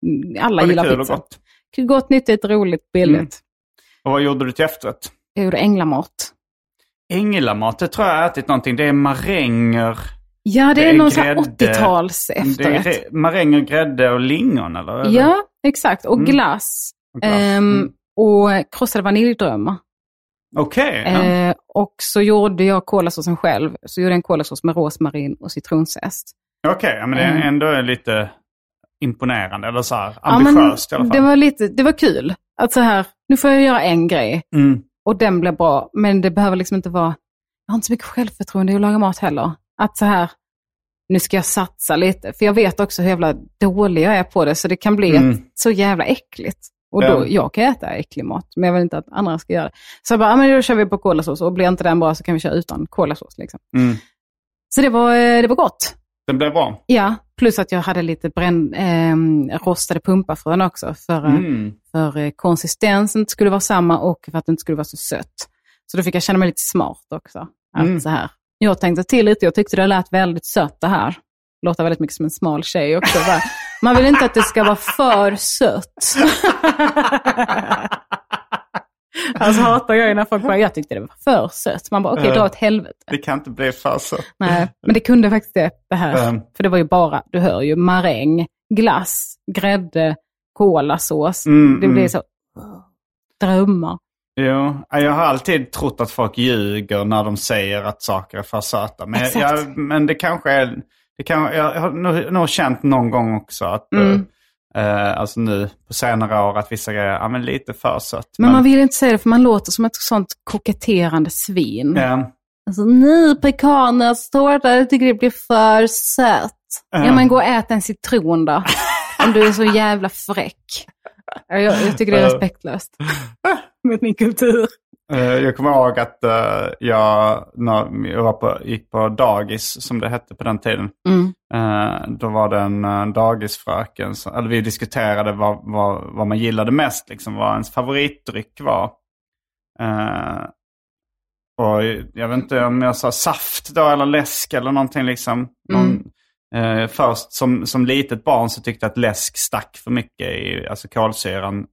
C: Mm,
B: Var
C: Alla
B: det
C: gillar
B: kul och
C: pizza.
B: gott?
C: Gott. nyttigt, roligt, billigt.
B: Mm. Och vad gjorde du till efterrätt?
C: Jag gjorde änglamat.
B: Änglamat, det tror jag har ätit någonting. Det är maränger.
C: Ja, det,
B: Det
C: är
B: är
C: någon sån här
B: grädde.
C: 80-tals
B: Det är
C: efterrätt.
B: re- maränger, grädde och lingon eller?
C: Ja, exakt. Och
B: Mm.
C: glass.
B: Och glass.
C: Ehm,
B: Mm.
C: Och krossade vaniljdrömmar.
B: Okej. ja.
C: Eh, och så gjorde jag kolasåsen själv. Så gjorde jag en kolasås med rosmarin och citronzest.
B: Okej, ja, men det
C: Mm.
B: är ändå lite imponerande eller så här
C: Ja, men
B: ambitiöst i alla
C: Det
B: fall.
C: var, lite, det var kul. Att så här, nu får jag göra en grej
B: Mm.
C: och den blir bra. Men det behöver liksom inte vara, jag har inte så mycket självförtroende i att laga mat heller. Att så här, nu ska jag satsa lite. För jag vet också hur jävla dålig jag är på det. Så det kan bli
B: Mm.
C: ett, så jävla äckligt. Och
B: Ja.
C: då, jag kan äta äcklig mat, men jag vill inte att andra ska göra det. Så jag bara, ja, men då kör vi på kolasås. Och blir inte den bra så kan vi köra utan kolasås. Liksom.
B: Mm.
C: Så det var, eh, det var gott.
B: Den blev bra.
C: Ja, plus att jag hade lite bränn, ehm, rostade pumpafrön också för, eh,
B: Mm.
C: för eh, konsistensen inte skulle vara samma och för att det inte skulle vara så sött. Så då fick jag känna mig lite smart också. Att
B: Mm.
C: så här. Jag tänkte till lite, jag tyckte det lät väldigt sött det här. Låter väldigt mycket som en smal tjej också. Bara, man vill inte att det ska vara för sött. alltså hatar jag ju när folk bara, jag tyckte det var för sött. Man bara, okej,
B: Ja. Mm.
C: dra åt helvete.
B: Det kan inte bli för så.
C: Nej, men det kunde faktiskt det, det här.
B: Mm.
C: För det var ju bara, du hör ju, maräng, glass, grädde, kolasås.
B: Mm,
C: det blir
B: mm.
C: så drömmar.
B: Jo, ja, jag har alltid trott att folk ljuger när de säger att saker är för söta. Men, jag,
C: Exakt.
B: jag, men det kanske är... Det kan, jag har nog, nog känt någon gång också att...
C: Mm.
B: eh, alltså nu på senare år att vissa grejer ja, men lite för sött.
C: Men man vill inte säga det för man låter som ett sånt koketterande svin.
B: Ja,
C: Alltså, nej, pekannötstårta, jag tycker det blir för sött. Ja,
B: Ja.
C: men gå och ät en citron då. Om du är så jävla fräck. Ja, Jag, jag tycker det är
B: Ja.
C: respektlöst. Mot min kultur.
B: Eh, Jag kommer ihåg att eh, jag, när jag var på, gick på dagis, som det hette på den tiden,
C: Mm.
B: eh, då var det en eh, dagisfröken, som, eller vi diskuterade vad, vad, vad man gillade mest, liksom, vad ens favoritdryck var. Eh, och jag vet inte om jag sa saft då, eller läsk eller någonting. Liksom. Någon, eh, först som, som litet barn så tyckte jag att läsk stack för mycket, i, alltså kolsyran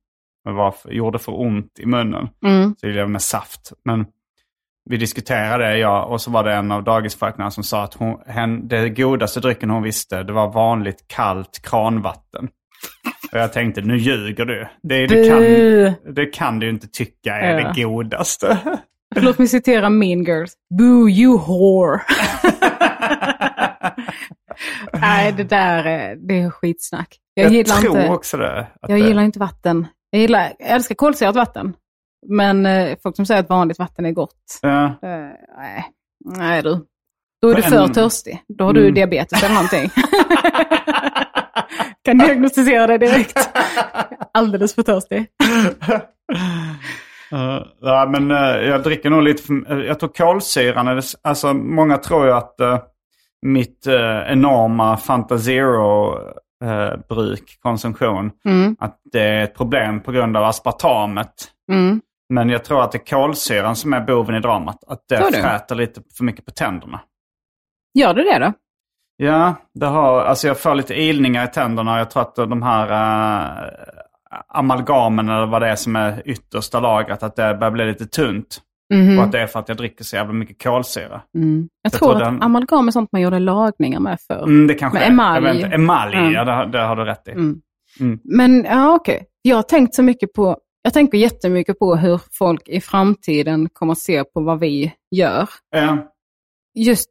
B: var, för- gjorde för ont i munnen.
C: Mm.
B: Så det blev med saft. Men vi diskuterade det, jag, och så var det en av dagisfröknarna som sa att hon, hen, det godaste drycken hon visste, det var vanligt kallt kranvatten. Och jag tänkte, nu ljuger du. Det, det, kan,
C: Bu.
B: det kan du ju inte tycka är
C: Ja.
B: det godaste.
C: Låt mig citera Mean Girls. Boo you whore. Nej, det där är, det är skitsnack. Jag,
B: Jag,
C: gillar
B: tror
C: inte,
B: också det. att
C: jag
B: det-
C: gillar inte vatten. Jag, gillar, jag älskar kolsyrat vatten. Men eh, folk som säger att vanligt vatten är gott.
B: Ja.
C: Eh, nej. nej, du. Då är du
B: Men-
C: för törstig. Då har du
B: Mm.
C: diabetes eller någonting. kan diagnostisera dig direkt. Alldeles för törstig.
B: Eh, ja, men eh, jag dricker nog lite för, eh, Jag tror kolsyran, är det, s- alltså många tror ju att eh, mitt eh, enorma Fanta Zero-bruk, konsumtion,
C: Mm,
B: att det är ett problem på grund av aspartamet.
C: mm.
B: Men jag tror att det är kolsyran som är boven i dramat. Att
C: Tror
B: det
C: du?
B: fräter lite för mycket på tänderna.
C: Gör du det då?
B: Ja, det har, alltså jag får lite ilningar i tänderna. Jag tror att de här eh, amalgamen eller vad det är som är yttersta lagret, att det börjar bli lite tunt.
C: Mhm.
B: Och att det är för att jag dricker så jävla mycket kolsyra.
C: Mm. Jag,
B: Jag
C: tror
B: tror
C: att
B: den-
C: amalgam är sånt man gjorde lagningar med förr.
B: Mm, det kanske
C: Med
B: är.
C: emalj.
B: Jag vet inte. Emalj,
C: Mm.
B: ja det, har- det har du rätt i.
C: Mm.
B: Mm.
C: Men ja, okej. Jag har tänkt så mycket på, jag tänker jättemycket på hur folk i framtiden kommer att se på vad vi gör.
B: Eh,
C: Just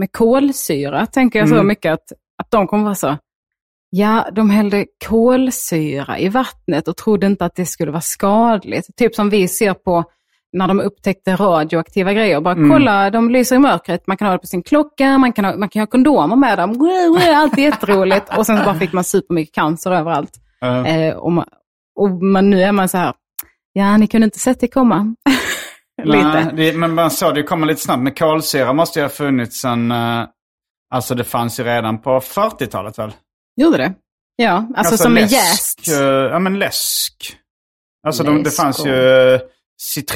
C: med kolsyra tänker jag så
B: Mm.
C: mycket att, att de kommer vara så, Ja, de hällde kolsyra i vattnet och trodde inte att det skulle vara skadligt. Typ som vi ser på när de upptäckte radioaktiva grejer. Bara
B: Mm.
C: kolla, de lyser i mörkret. Man kan ha det på sin klocka, man kan ha, man kan ha kondomer med dem. Wow, wow, Allt är jätteroligt. Och sen så bara fick man supermycket cancer överallt.
B: Ja.
C: Eh, och man, och man, nu är man så här, ja ni kunde inte sett det komma.
B: Nej,
C: Lite.
B: det, men man såg det komma lite snabbt. Men kolsyra måste ju ha funnits sen... eh, Alltså det fanns ju redan på 40-talet väl?
C: Gjorde det? Ja, alltså, som en
B: läsk,
C: jäst.
B: eh, Ja men läsk. Alltså de, det
C: Läsk
B: fanns
C: och-
B: ju eh,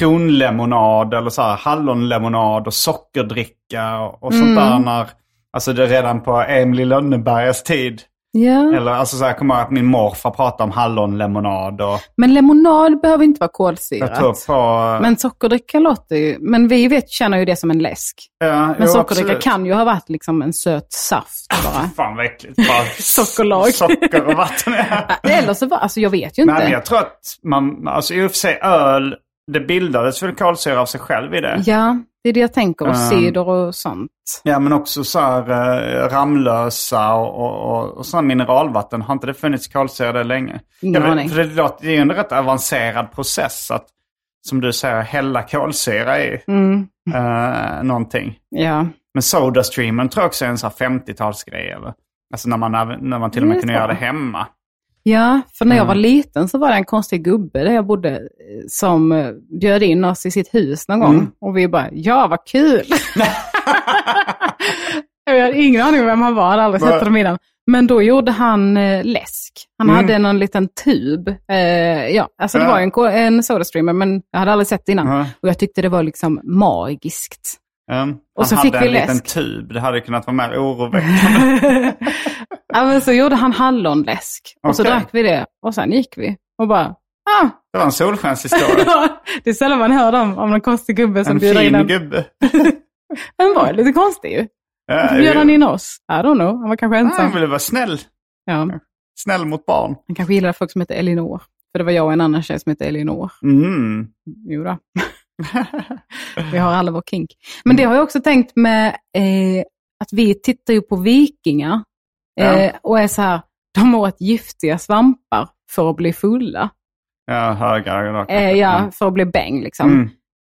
B: citronlemonad eller så här hallonlemonad och sockerdricka och, och
C: Mm.
B: sånt där när... Alltså det är redan på Emil i Lönnebergas tid.
C: Ja.
B: Eller alltså så här, jag kommer ihåg att min morfar pratade om hallonlemonad och
C: Men lemonad behöver inte vara
B: jag tror
C: kolsyrat.
B: på...
C: Men sockerdricka låter ju... Men vi vet, känner ju det som en läsk.
B: ja,
C: Men
B: jo,
C: sockerdricka
B: absolut.
C: kan ju ha varit liksom en söt saft bara.
B: Fan vad äckligt. Bara
C: Sockerlag.
B: Socker och vatten.
C: Eller så var... Alltså jag vet ju inte.
B: Nej, men jag tror att man, alltså i och för sig öl, det bildades väl kolsyra av sig själv i det.
C: Ja, det är det jag tänker. Och
B: Ehm.
C: cider och sånt.
B: Ja, men också så här eh, Ramlösa och, och, och, och sådana mineralvatten. Har inte det funnits kolsyra där länge?
C: Ingen
B: Jag vet-
C: aning.
B: För det, låter- det är ju en rätt avancerad process att, som du säger, hälla kolsyra i
C: Mm,
B: eh, någonting.
C: ja.
B: Men Sodastreamen tror jag också är en sån här 50-talsgrej. eller? Alltså när man, när man till och med
C: Det är
B: kunde
C: så.
B: göra det hemma.
C: Ja, för när jag var liten så var det en konstig gubbe där jag bodde eh, som eh, bjöd in oss i sitt hus någon
B: Mm.
C: gång. Och vi bara, ja vad kul! jag hade ingen aning om vem han var, hade aldrig sett
B: Vad-
C: honom innan. Men då gjorde han eh, läsk. Han
B: Mm.
C: hade någon liten tub. Eh, ja, alltså det
B: Ja.
C: var ju en, ko- en Sodastreamer, men jag hade aldrig sett det innan.
B: Ja.
C: Och jag tyckte det var liksom magiskt.
B: Um,
C: Och så
B: hade
C: fick vi
B: en liten
C: läsk.
B: tub. Det hade kunnat vara mer oroväckande.
C: ja, men så gjorde han hallonläsk. Och så
B: Okej.
C: drack vi det och sen gick vi. Och bara, ah,
B: Det var en solskenshistoria.
C: Ja, det är sällan man hör dem om någon konstig gubbe som
B: en
C: bjuder in
B: fin
C: en.
B: gubbe.
C: Han var lite konstig ju.
B: Ja,
C: Varför bjöd
B: ju-
C: han in oss? I don't know. Han var kanske
B: Nej,
C: ensam.
B: Han ville vara snäll.
C: Ja.
B: Snäll mot barn.
C: Han kanske gillade folk som hette Elinor. För det var jag och en annan tjej som hette Elinor.
B: Mm.
C: Jo då. vi har alla vår kink. Men det har jag också tänkt med eh, att vi tittar ju på vikingar eh,
B: Ja.
C: och är så här, de åt giftiga svampar för att bli fulla.
B: Ja, höga ögon.
C: Eh, ja, för att bli bäng liksom.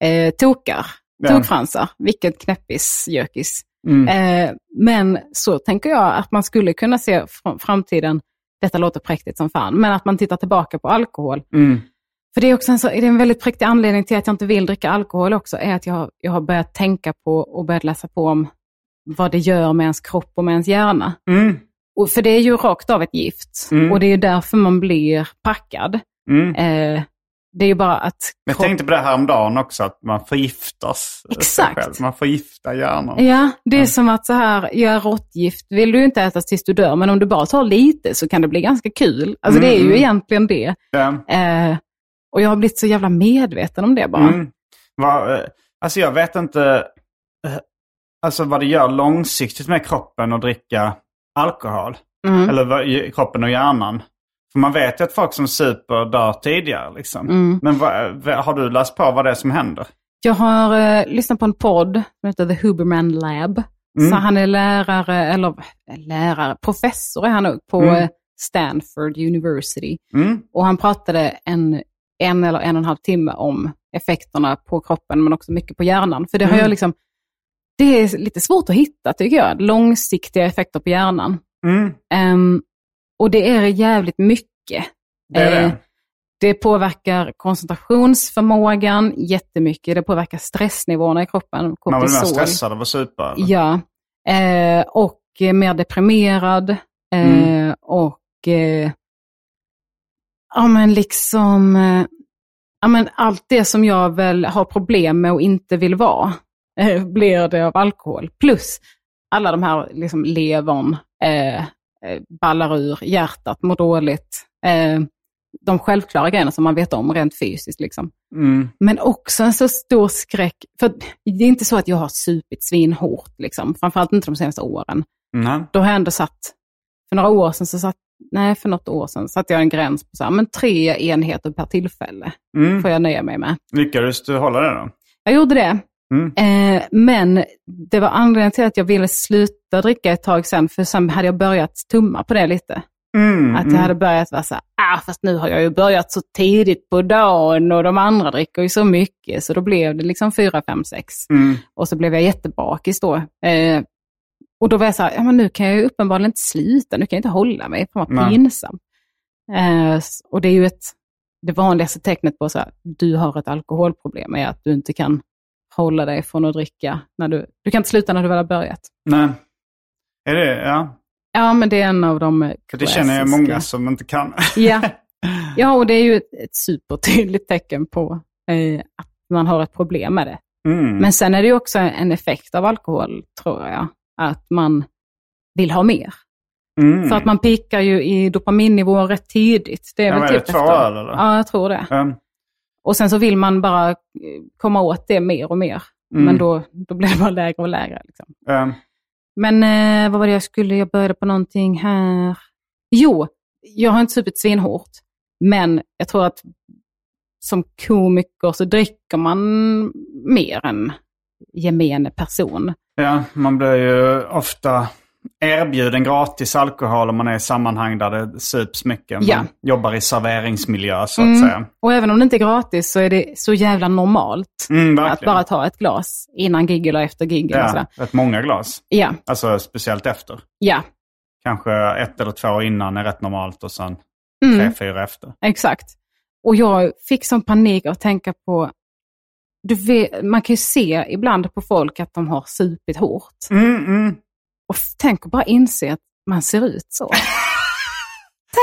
B: Mm.
C: Eh, tokar,
B: Ja.
C: tokfransar, vilket knäppis gökis.
B: Mm.
C: Eh, men så tänker jag att man skulle kunna se fr- framtiden, detta låter präktigt som fan, men att man tittar tillbaka på alkohol.
B: Mm.
C: För det är också en, så, det är en väldigt präktig anledning till att jag inte vill dricka alkohol också, är att jag, jag har börjat tänka på och börjat läsa på om vad det gör med ens kropp och med ens hjärna.
B: Mm.
C: Och, för det är ju rakt av ett gift
B: Mm.
C: och det är ju därför man blir packad.
B: Mm.
C: Eh, det är ju bara att...
B: Jag
C: kropp-
B: tänkte på det här om dagen också, att man förgiftas. sig
C: Exakt. Eh.
B: själv. Man förgiftar hjärnan.
C: Ja, det är som att så här, jag är råttgift vill du inte äta tills du dör, men om du bara tar lite så kan det bli ganska kul. Alltså det är ju
B: Mm.
C: egentligen det.
B: Ja.
C: Eh, och jag har blivit så jävla medveten om det bara.
B: Mm. Vad, eh, alltså jag vet inte eh, alltså vad det gör långsiktigt med kroppen att dricka alkohol.
C: Mm.
B: Eller vad, i- kroppen och hjärnan. För man vet ju att folk som super dör tidigare. Liksom.
C: Mm.
B: Men vad, vad- har du läst på vad det är som händer?
C: Jag har eh, lyssnat på en podd som heter The Huberman Lab.
B: Mm.
C: Så han är lärare, eller eh, lärare, professor är han nog på
B: Mm.
C: eh, Stanford University.
B: Mm.
C: Och han pratade en, en eller en och en halv timme om effekterna på kroppen, men också mycket på hjärnan. För det har
B: Mm.
C: jag liksom, det är lite svårt att hitta tycker jag, långsiktiga effekter på hjärnan.
B: Mm.
C: Ehm, och det är jävligt mycket.
B: Det är
C: Eh,
B: det.
C: Det påverkar koncentrationsförmågan jättemycket. Det påverkar stressnivåerna i kroppen,
B: Man blir mer
C: kortisol.
B: stressad av att supa. eller?
C: Ja, eh, och eh, mer deprimerad. Eh,
B: Mm.
C: Och eh, ja, men liksom, eh, ja, men allt det som jag väl har problem med och inte vill vara, eh, blir det av alkohol. Plus alla de här liksom, levern eh, eh, ballar ur, hjärtat mår dåligt. Eh, de självklara grejerna som man vet om rent fysiskt. Liksom.
B: Mm.
C: Men också en så stor skräck. För att det är inte så att jag har supit svinhårt, liksom. framförallt inte de senaste åren.
B: Nej.
C: Då har jag ändå satt, för några år sedan, så satt, nej för något år sedan, satte jag en gräns på så här, men tre enheter per tillfälle
B: Mm.
C: får jag nöja mig med.
B: Lyckades du hålla det då?
C: Jag gjorde det,
B: Mm.
C: eh, men det var anledningen till att jag ville sluta dricka ett tag sen, för sen hade jag börjat tumma på det lite.
B: Mm,
C: Att det
B: mm.
C: hade börjat vara så här, ah, fast nu har jag ju börjat så tidigt på dagen och de andra dricker ju så mycket. Så då blev det liksom fyra, fem, sex.
B: Mm.
C: Och så blev jag jättebakis då. Eh, och då var jag så här, ja, men nu kan jag ju uppenbarligen inte sluta, nu kan jag inte hålla mig, fan vad
B: Nej.
C: pinsam. Eh, s- och det är ju ett, det vanligaste tecknet på så här, du har ett alkoholproblem, är att du inte kan hålla dig från att dricka. När du, du kan inte sluta när du väl har börjat.
B: Nej. Är det, ja.
C: Ja, men det är en av de eh,
B: För det känner jag
C: klassiska.
B: många som inte kan.
C: Ja. ja, och det är ju ett, ett supertydligt tecken på eh, att man har ett problem med det.
B: Mm.
C: Men sen är det ju också en effekt av alkohol, tror jag, att man vill ha mer.
B: Mm.
C: För att man pickar ju i dopaminnivåer rätt tidigt. Det är
B: Ja,
C: väl
B: men
C: typ
B: är det två
C: efter-
B: öl, eller?
C: Ja, jag tror det.
B: Ja.
C: Och sen så vill man bara eh, komma åt det mer och mer.
B: Mm.
C: Men då, då blir det bara lägre och lägre. Liksom.
B: Ja.
C: Men eh, vad var det jag skulle, jag började på någonting här. Jo, jag har inte supit svinhårt. Men jag tror att som komiker så dricker man mer än gemene person.
B: Ja, man blir ju ofta erbjuden gratis alkohol om man är i sammanhang där det sups mycket. Man
C: Ja.
B: jobbar i serveringsmiljö så att
C: Mm.
B: säga.
C: Och även om det inte är gratis så är det så jävla normalt
B: Mm,
C: att
B: verkligen.
C: bara ta ett glas innan gig eller efter gig. eller sådär.
B: ja, rätt många glas.
C: ja,
B: Alltså speciellt efter.
C: ja.
B: Kanske ett eller två innan är rätt normalt och sen
C: Mm,
B: tre, fyra efter.
C: exakt. Och jag fick sån panik av att tänka på, du vet, man kan ju se ibland på folk att de har supit hårt.
B: Mm, mm.
C: Och f- tänk att bara inse att man ser ut så.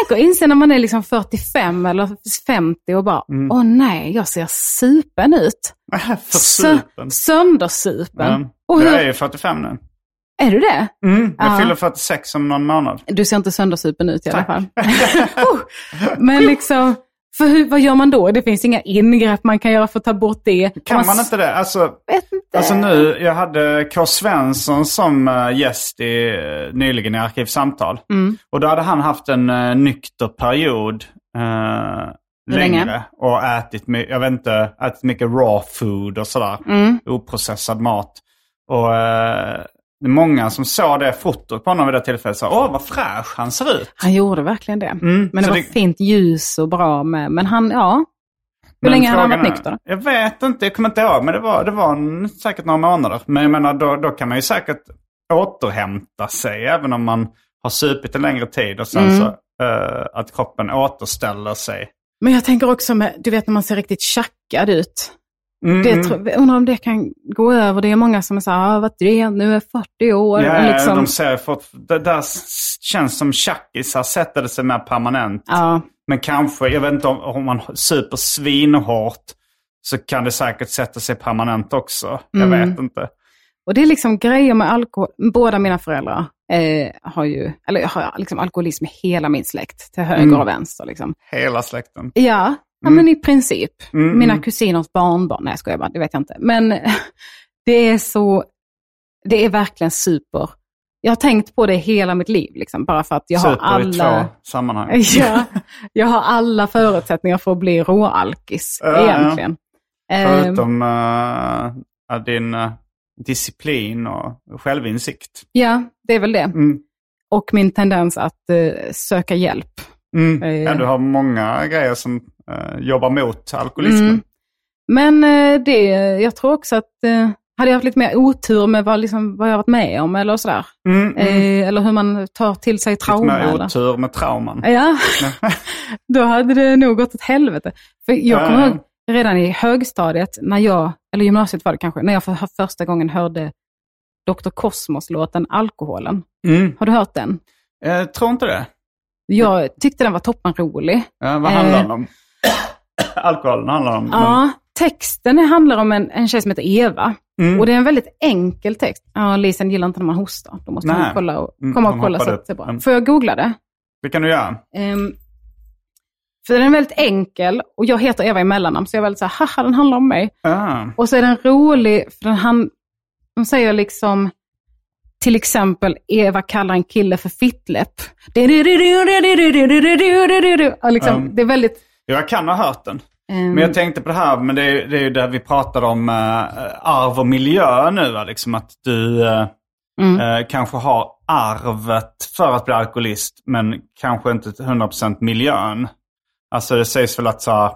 C: tänk att inse när man är liksom 45 eller 50 och bara,
B: Mm.
C: åh nej, jag ser supen ut.
B: För
C: Sö-
B: supen.
C: Söndersupen.
B: Ja.
C: Och hur,
B: Ehm, Jag är
C: är...
B: ju 45 nu.
C: du det?
B: Mm, jag
C: Ja.
B: fyller 46 om någon månad.
C: Du ser inte söndersupen ut i alla fall. Oh, Men liksom, för hur, vad gör man då? Det finns inga ingrepp man kan göra för att ta bort det.
B: Kan
C: Och
B: man inte det? Alltså,
C: vet inte.
B: Alltså nu, jag hade K. Svensson som eh, gäst i, eh, nyligen i Arkivsamtal.
C: Mm.
B: Och då hade han haft en uh, nykter period eh,
C: Hur
B: längre.
C: länge?
B: Och ätit, my- jag vet inte, ätit mycket raw food och sådär.
C: Mm.
B: Oprocessad mat. Och eh, det är många som såg det fotot på honom vid det tillfället sa åh vad fräsch han ser ut.
C: Han gjorde verkligen det.
B: Mm,
C: Men det
B: så
C: var
B: det-
C: fint ljus och bra med. Men han, ja. Hur länge har han
B: frågan
C: varit
B: är-
C: nykter?
B: Jag vet inte, jag kommer inte ihåg. Men det var, det var en, säkert några månader. Men jag menar, då, då kan man ju säkert återhämta sig även om man har supit en längre tid. Och sen
C: Mm.
B: så eh, att kroppen återställer sig.
C: Men jag tänker också med, du vet när man ser riktigt tjackad ut.
B: Mm,
C: Det
B: mm.
C: tror- jag undrar om det kan gå över. Det är många som är så här, ah, vad du är, nu är 40 år.
B: Ja, ja,
C: liksom.
B: de ser fort, det där s- känns som tjackisar sätter det sig mer permanent.
C: ja.
B: Men kanske, jag vet inte om, om man super svinhårt så kan det säkert sätta sig permanent också. Jag
C: Mm.
B: vet inte.
C: Och det är liksom grejer med alkohol. Båda mina föräldrar eh, har ju, eller jag har liksom alkoholism i hela min släkt, till höger
B: Mm.
C: och vänster. Liksom.
B: Hela släkten.
C: Ja, ja
B: Mm.
C: men i princip.
B: Mm,
C: Mina
B: mm.
C: kusiners barnbarn, nej jag skojar bara, det vet jag inte. Men det är så, det är verkligen super. Jag har tänkt på det hela mitt liv, liksom, bara för att jag har
B: super i
C: alla...
B: två sammanhang.
C: Ja, jag har alla förutsättningar för att bli råalkis
B: Ja, ja.
C: egentligen. Ehm,
B: Förutom eh, ja, din eh, disciplin och självinsikt.
C: ja, det är väl det.
B: Mm.
C: Och min tendens att eh, söka hjälp.
B: Mm.
C: Ja, ja.
B: Ja, du har många grejer som eh, jobbar mot alkoholismen.
C: Mm. Men eh, det, jag tror också att eh, hade jag haft lite mer otur med vad, liksom, vad jag varit med om eller sådär.
B: Mm, Typ mm.
C: Eh, eller hur man tar till sig trauma.
B: Lite mer
C: eller?
B: otur med trauman.
C: Ja, då hade det nog gått åt helvete. För jag
B: Ja,
C: kommer
B: ja.
C: ihåg redan i högstadiet, när jag, eller gymnasiet var det kanske, när jag för första gången hörde Dr. Cosmos-låten Alkoholen.
B: Mm.
C: Har du hört den?
B: Eh, tror inte det.
C: Jag tyckte den var toppenrolig.
B: Ja, vad
C: Eh.
B: handlar den om? Alkoholen handlar om.
C: Ja, texten handlar om en, en tjej som heter Eva.
B: men- mm.
C: Och det är en väldigt enkel text. Ja, Lisen gillar inte när man hostar. Då måste
B: Nej.
C: man kolla och,
B: Mm,
C: komma
B: hon
C: och kolla så
B: hoppade
C: att det är bra.
B: upp. Mm.
C: Får jag googla det?
B: det kan du göra.
C: Ehm, för den är väldigt enkel och jag heter Eva i mellannamn så jag är väldigt så här, haha den handlar om mig.
B: Ah.
C: Och så är den rolig, för den han, de säger liksom, till exempel Eva kallar en kille för fittläpp. Och
B: Mm.
C: Liksom, det är väldigt...
B: Jag kan ha hört den.
C: ehm,
B: Men jag tänkte på det här, men det är, det är ju där vi pratade om eh, arv och miljö nu. Va? Liksom att du, eh, Eh, kanske har arvet för att bli alkoholist, men kanske inte till 100% miljön. Alltså det sägs väl att så här,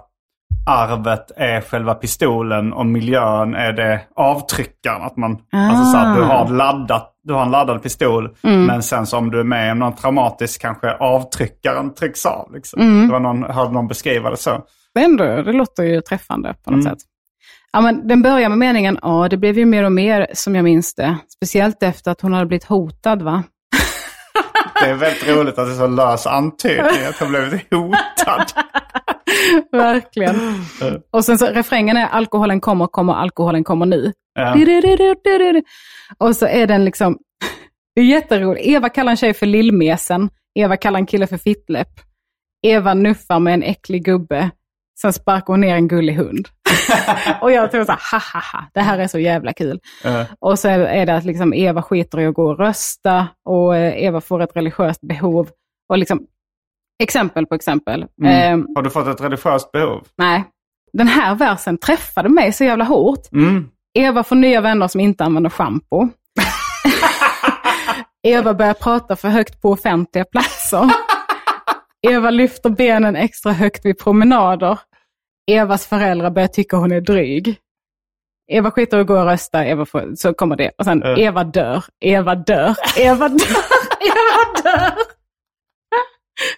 B: arvet är själva pistolen och miljön är det avtryckaren. Att man, alltså så här, du, har laddat, du har en laddad pistol, men sen så om du är med om något traumatiskt kanske avtryckaren trycks av. Liksom. Det var någon, hörde någon beskriva det så.
C: Det, ändå, det låter ju träffande på något sätt. Ja, men den börjar med meningen, ja det blev ju mer och mer som jag minns det. Speciellt efter att hon hade blivit hotad va?
B: Det är väldigt roligt att det är så lös antydning att hon blivit hotad.
C: Verkligen. Och sen så refrängen är alkoholen kommer, kommer, alkoholen kommer nu.
B: Ja.
C: Du-du-du-du-du-du. Och så är den liksom, det är jätteroligt. Eva kallar en tjej för lillmesen. Eva kallar en kille för fittläpp. Eva nuffar med en äcklig gubbe. Sen sparkar hon ner en gullig hund. och jag tror så här, ha ha ha, det här är så jävla kul.
B: Eh,
C: Och så är det att liksom Eva skiter i att gå och rösta och eh, Eva får ett religiöst behov. Och liksom, exempel på exempel.
B: Mm.
C: Eh,
B: har du fått ett religiöst behov?
C: nej, den här versen träffade mig så jävla hårt.
B: Mm.
C: Eva får nya vänner som inte använder schampo. Eva börjar prata för högt på offentliga platser. Eva lyfter benen extra högt vid promenader. Evas föräldrar börjar tycka hon är dryg. Eva skiter och går och röstar, Eva får, så kommer det. Och sen
B: Ja.
C: Eva dör, Eva dör, Eva dör, Eva dör.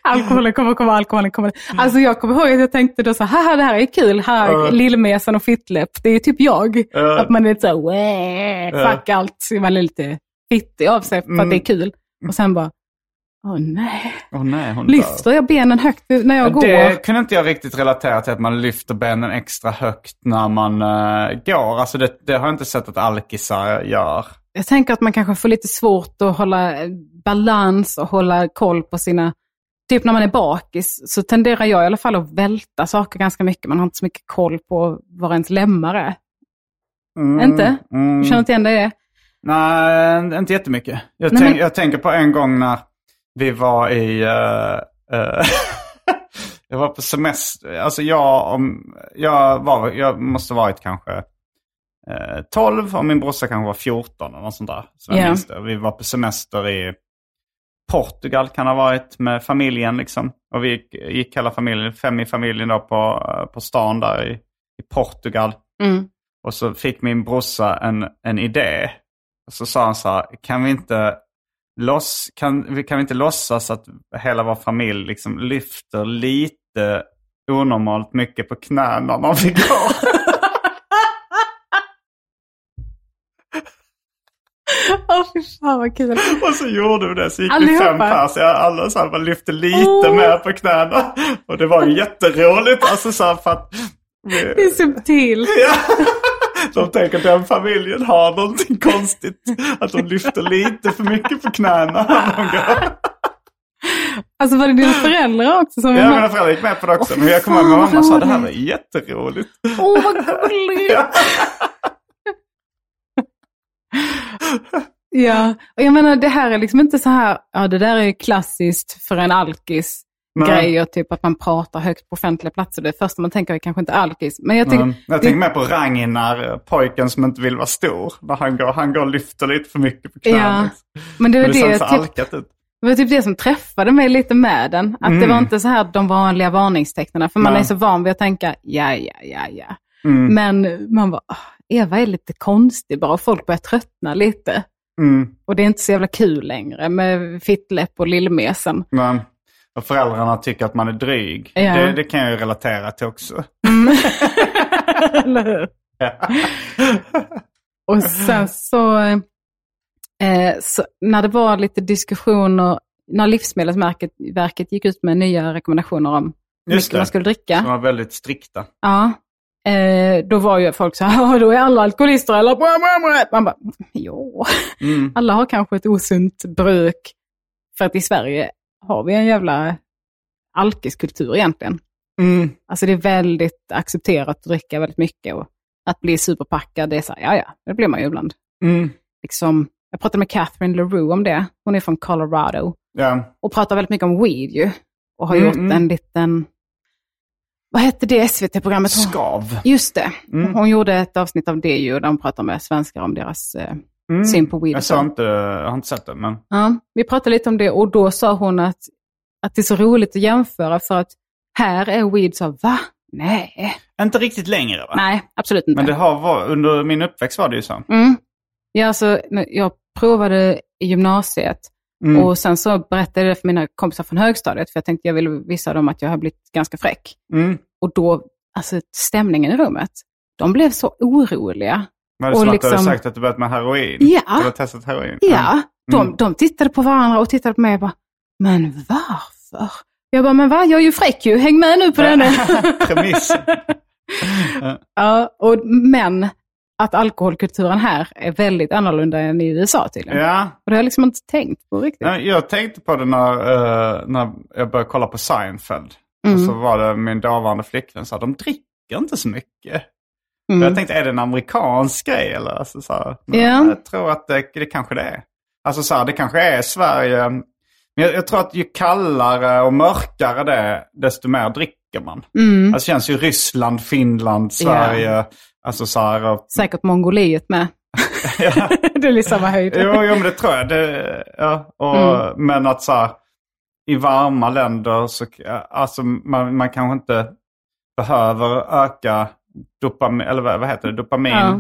C: Alkoholen kommer, kommer, alkoholen kommer. Alltså jag kommer ihåg att jag tänkte då så här, haha, det här är kul, här,
B: Mm. Ja.
C: lillmesen och fittläpp, det är ju typ jag.
B: Ja.
C: Att man är lite så här, "Wah, fuck allt, så man är lite fittig av sig för
B: Mm.
C: att det är kul. Och sen bara, åh nej,
B: Åh nej, hon
C: lyfter jag benen högt när jag går?
B: Det kunde inte jag riktigt relatera till, att man lyfter benen extra högt när man eh, går. Alltså det, det har jag inte sett att alkisar gör.
C: Jag tänker att man kanske får lite svårt att hålla eh, balans och hålla koll på sina... Typ när man är bakis så tenderar jag i alla fall att välta saker ganska mycket. Man har inte så mycket koll på var ens lemmar är.
B: Mm,
C: Inte?
B: Mm.
C: Du känner inte igen dig i det?
B: Nej, inte jättemycket. Jag,
C: Nej,
B: tänk,
C: men-
B: jag tänker på en gång när vi var i... eh, eh, jag var på semester. Alltså jag, om, jag, var, jag måste varit kanske eh, 12 och min brorsa kanske var 14 eller något sånt där. Så jag
C: Ja.
B: minns det. Vi var på semester i Portugal kan ha varit med familjen liksom. Och vi gick, gick hela familjen, fem i familjen då på, eh, på stan där i, i Portugal.
C: Mm.
B: Och så fick min brorsa en, en idé. Och så sa han så här, kan vi inte, loss, kan, vi- kan vi inte låtsas att hela vår familj liksom lyfter lite onormalt mycket på knäna när vi går?
C: Åh, fy fan vad kul.
B: och så gjorde vi det, så gick vi
C: Allihopa.
B: fem pers. Ja, alla så här, bara lyfte lite
C: Åh.
B: mer på knäna. Och det var ju jätteroligt. Alltså så här, för att vi-
C: Det är subtilt.
B: Ja. De tänker att den familjen har någonting konstigt. Att de lyfter lite för mycket på knäna. när de går.
C: Alltså var det dina föräldrar också som var
B: Ja,
C: med?
B: mina föräldrar gick med på det också. Men jag kommer
C: Mm. fan,
B: ihåg mamma
C: vad
B: sa det här var
C: roligt.
B: jätteroligt.
C: Åh, vad gulligt!
B: Ja.
C: Ja, och jag menar det här är liksom inte så här, ja det där är ju klassiskt för en alkis
B: Nej.
C: grejer, typ att man pratar högt på offentliga platser. Det första man tänker är kanske inte alkis, men jag tycker,
B: Mm. Jag tänker mer på Ragnar, pojken som inte vill vara stor. När han går, han går och lyfter lite för mycket på
C: Ja,
B: knäna. liksom.
C: men det
B: Men
C: var
B: det
C: det,
B: ser så
C: typ,
B: alkat ut.
C: det var typ det som träffade mig lite med den. Att det
B: Mm.
C: var inte så här de vanliga varningstecknen, för man
B: Nej.
C: är så van vid att tänka, ja, ja, ja, ja.
B: Mm.
C: Men man bara, "Ah, Eva är lite konstig bara, och folk börjar tröttna lite.
B: Mm.
C: Och det är inte så jävla kul längre med fittläpp och lillmesen.
B: Men, och föräldrarna tycker att man är dryg.
C: Ja.
B: Det, det kan jag ju relatera till också.
C: Eller hur? Och sen så, eh, så, när det var lite diskussioner, när Livsmedelsverket verket gick ut med nya rekommendationer om hur
B: Just
C: mycket man
B: det.
C: skulle dricka,
B: De var väldigt strikta.
C: ja. eh, då var ju folk så här, "Ja, då är alla alkoholister eller bra, bra, bra." Man bara, jo,
B: Mm.
C: alla har kanske ett osunt bruk. För att i Sverige har vi en jävla alkiskultur egentligen.
B: Mm.
C: Alltså det är väldigt accepterat att dricka väldigt mycket och att bli superpackad, det är så här, ja ja, det blir man ju ibland.
B: Mm.
C: liksom, jag pratade med Catherine LaRue om det. Hon är från Colorado
B: Ja.
C: och pratar väldigt mycket om weed ju. Och har
B: Mm,
C: gjort
B: mm.
C: en liten, vad hette det SVT-programmet?
B: Skav.
C: Just det.
B: Mm.
C: Hon gjorde ett avsnitt av det ju, där hon pratar med svenskar om deras eh,
B: Mm.
C: Syn på
B: Jag, sa
C: Wilson.
B: inte, jag har inte sett det, men...
C: Ja, vi pratade lite om det och då sa hon att, att det är så roligt att jämföra för att här är Weed så va? Nej.
B: Inte riktigt längre va?
C: Nej, absolut inte.
B: Men det har varit, under min uppväxt var det ju så.
C: Mm. Ja, alltså, när jag provade i gymnasiet
B: Mm.
C: och sen så berättade jag det för mina kompisar från högstadiet för jag tänkte jag ville visa dem att jag har blivit ganska fräck.
B: Mm.
C: Och då, alltså stämningen i rummet, de blev så oroliga.
B: Var det
C: Och
B: som att du
C: liksom-
B: hade sagt att du börjat med heroin?
C: Ja.
B: Du har testat heroin?
C: Ja, de,
B: Mm.
C: de tittade på varandra och tittade på mig och bara, men varför? Jag bara, men va, jag är ju fräck ju, häng med nu på den.
B: Premiss.
C: ja, och, men att alkoholkulturen här är väldigt annorlunda än i USA tydligen.
B: Ja,
C: Och det har jag liksom inte tänkt på riktigt.
B: Nej, jag tänkte på det när, eh, när jag började kolla på Seinfeld.
C: Mm.
B: Och så var det min dåvarande flickvän sa de dricker inte så mycket.
C: Mm.
B: Jag tänkte, är det en amerikansk grej? Eller? Alltså, så här, men
C: Ja.
B: Jag tror att det, det kanske det är. Alltså så här, det kanske är Sverige. Men jag, jag tror att ju kallare och mörkare det är, desto mer dricker man.
C: Mm.
B: Alltså det känns ju Ryssland, Finland, Sverige. Alltså så här, och,
C: Säkert Mongoliet med.
B: ja.
C: det är lite samma höjd.
B: Jo, jo, men det tror jag. Det, ja, och,
C: Mm.
B: Men att så här, i varma länder så alltså, man, man kanske inte behöver öka dopamin, eller vad, vad heter det, dopamin.
C: Ja.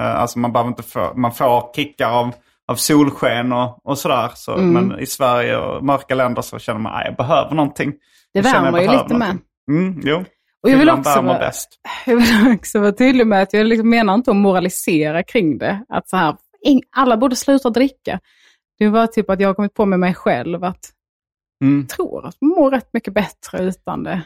B: Eh, Alltså man behöver inte få, man får kickar av, av solsken och, och sådär. Så,
C: Mm.
B: Men i Sverige och mörka länder så känner man att jag behöver någonting.
C: Det
B: Jag känner jag
C: värmer ju
B: behöver
C: lite med.
B: någonting. Mm, jo.
C: Och jag vill
B: Kylan
C: också
B: värmer
C: vara-
B: bäst.
C: Jag vill också vara tydlig med att jag liksom menar inte att moralisera kring det. Att så här, ing- alla borde sluta dricka. Det var typ att jag har kommit på med mig själv att
B: Mm.
C: jag tror att man mår rätt mycket bättre utan det.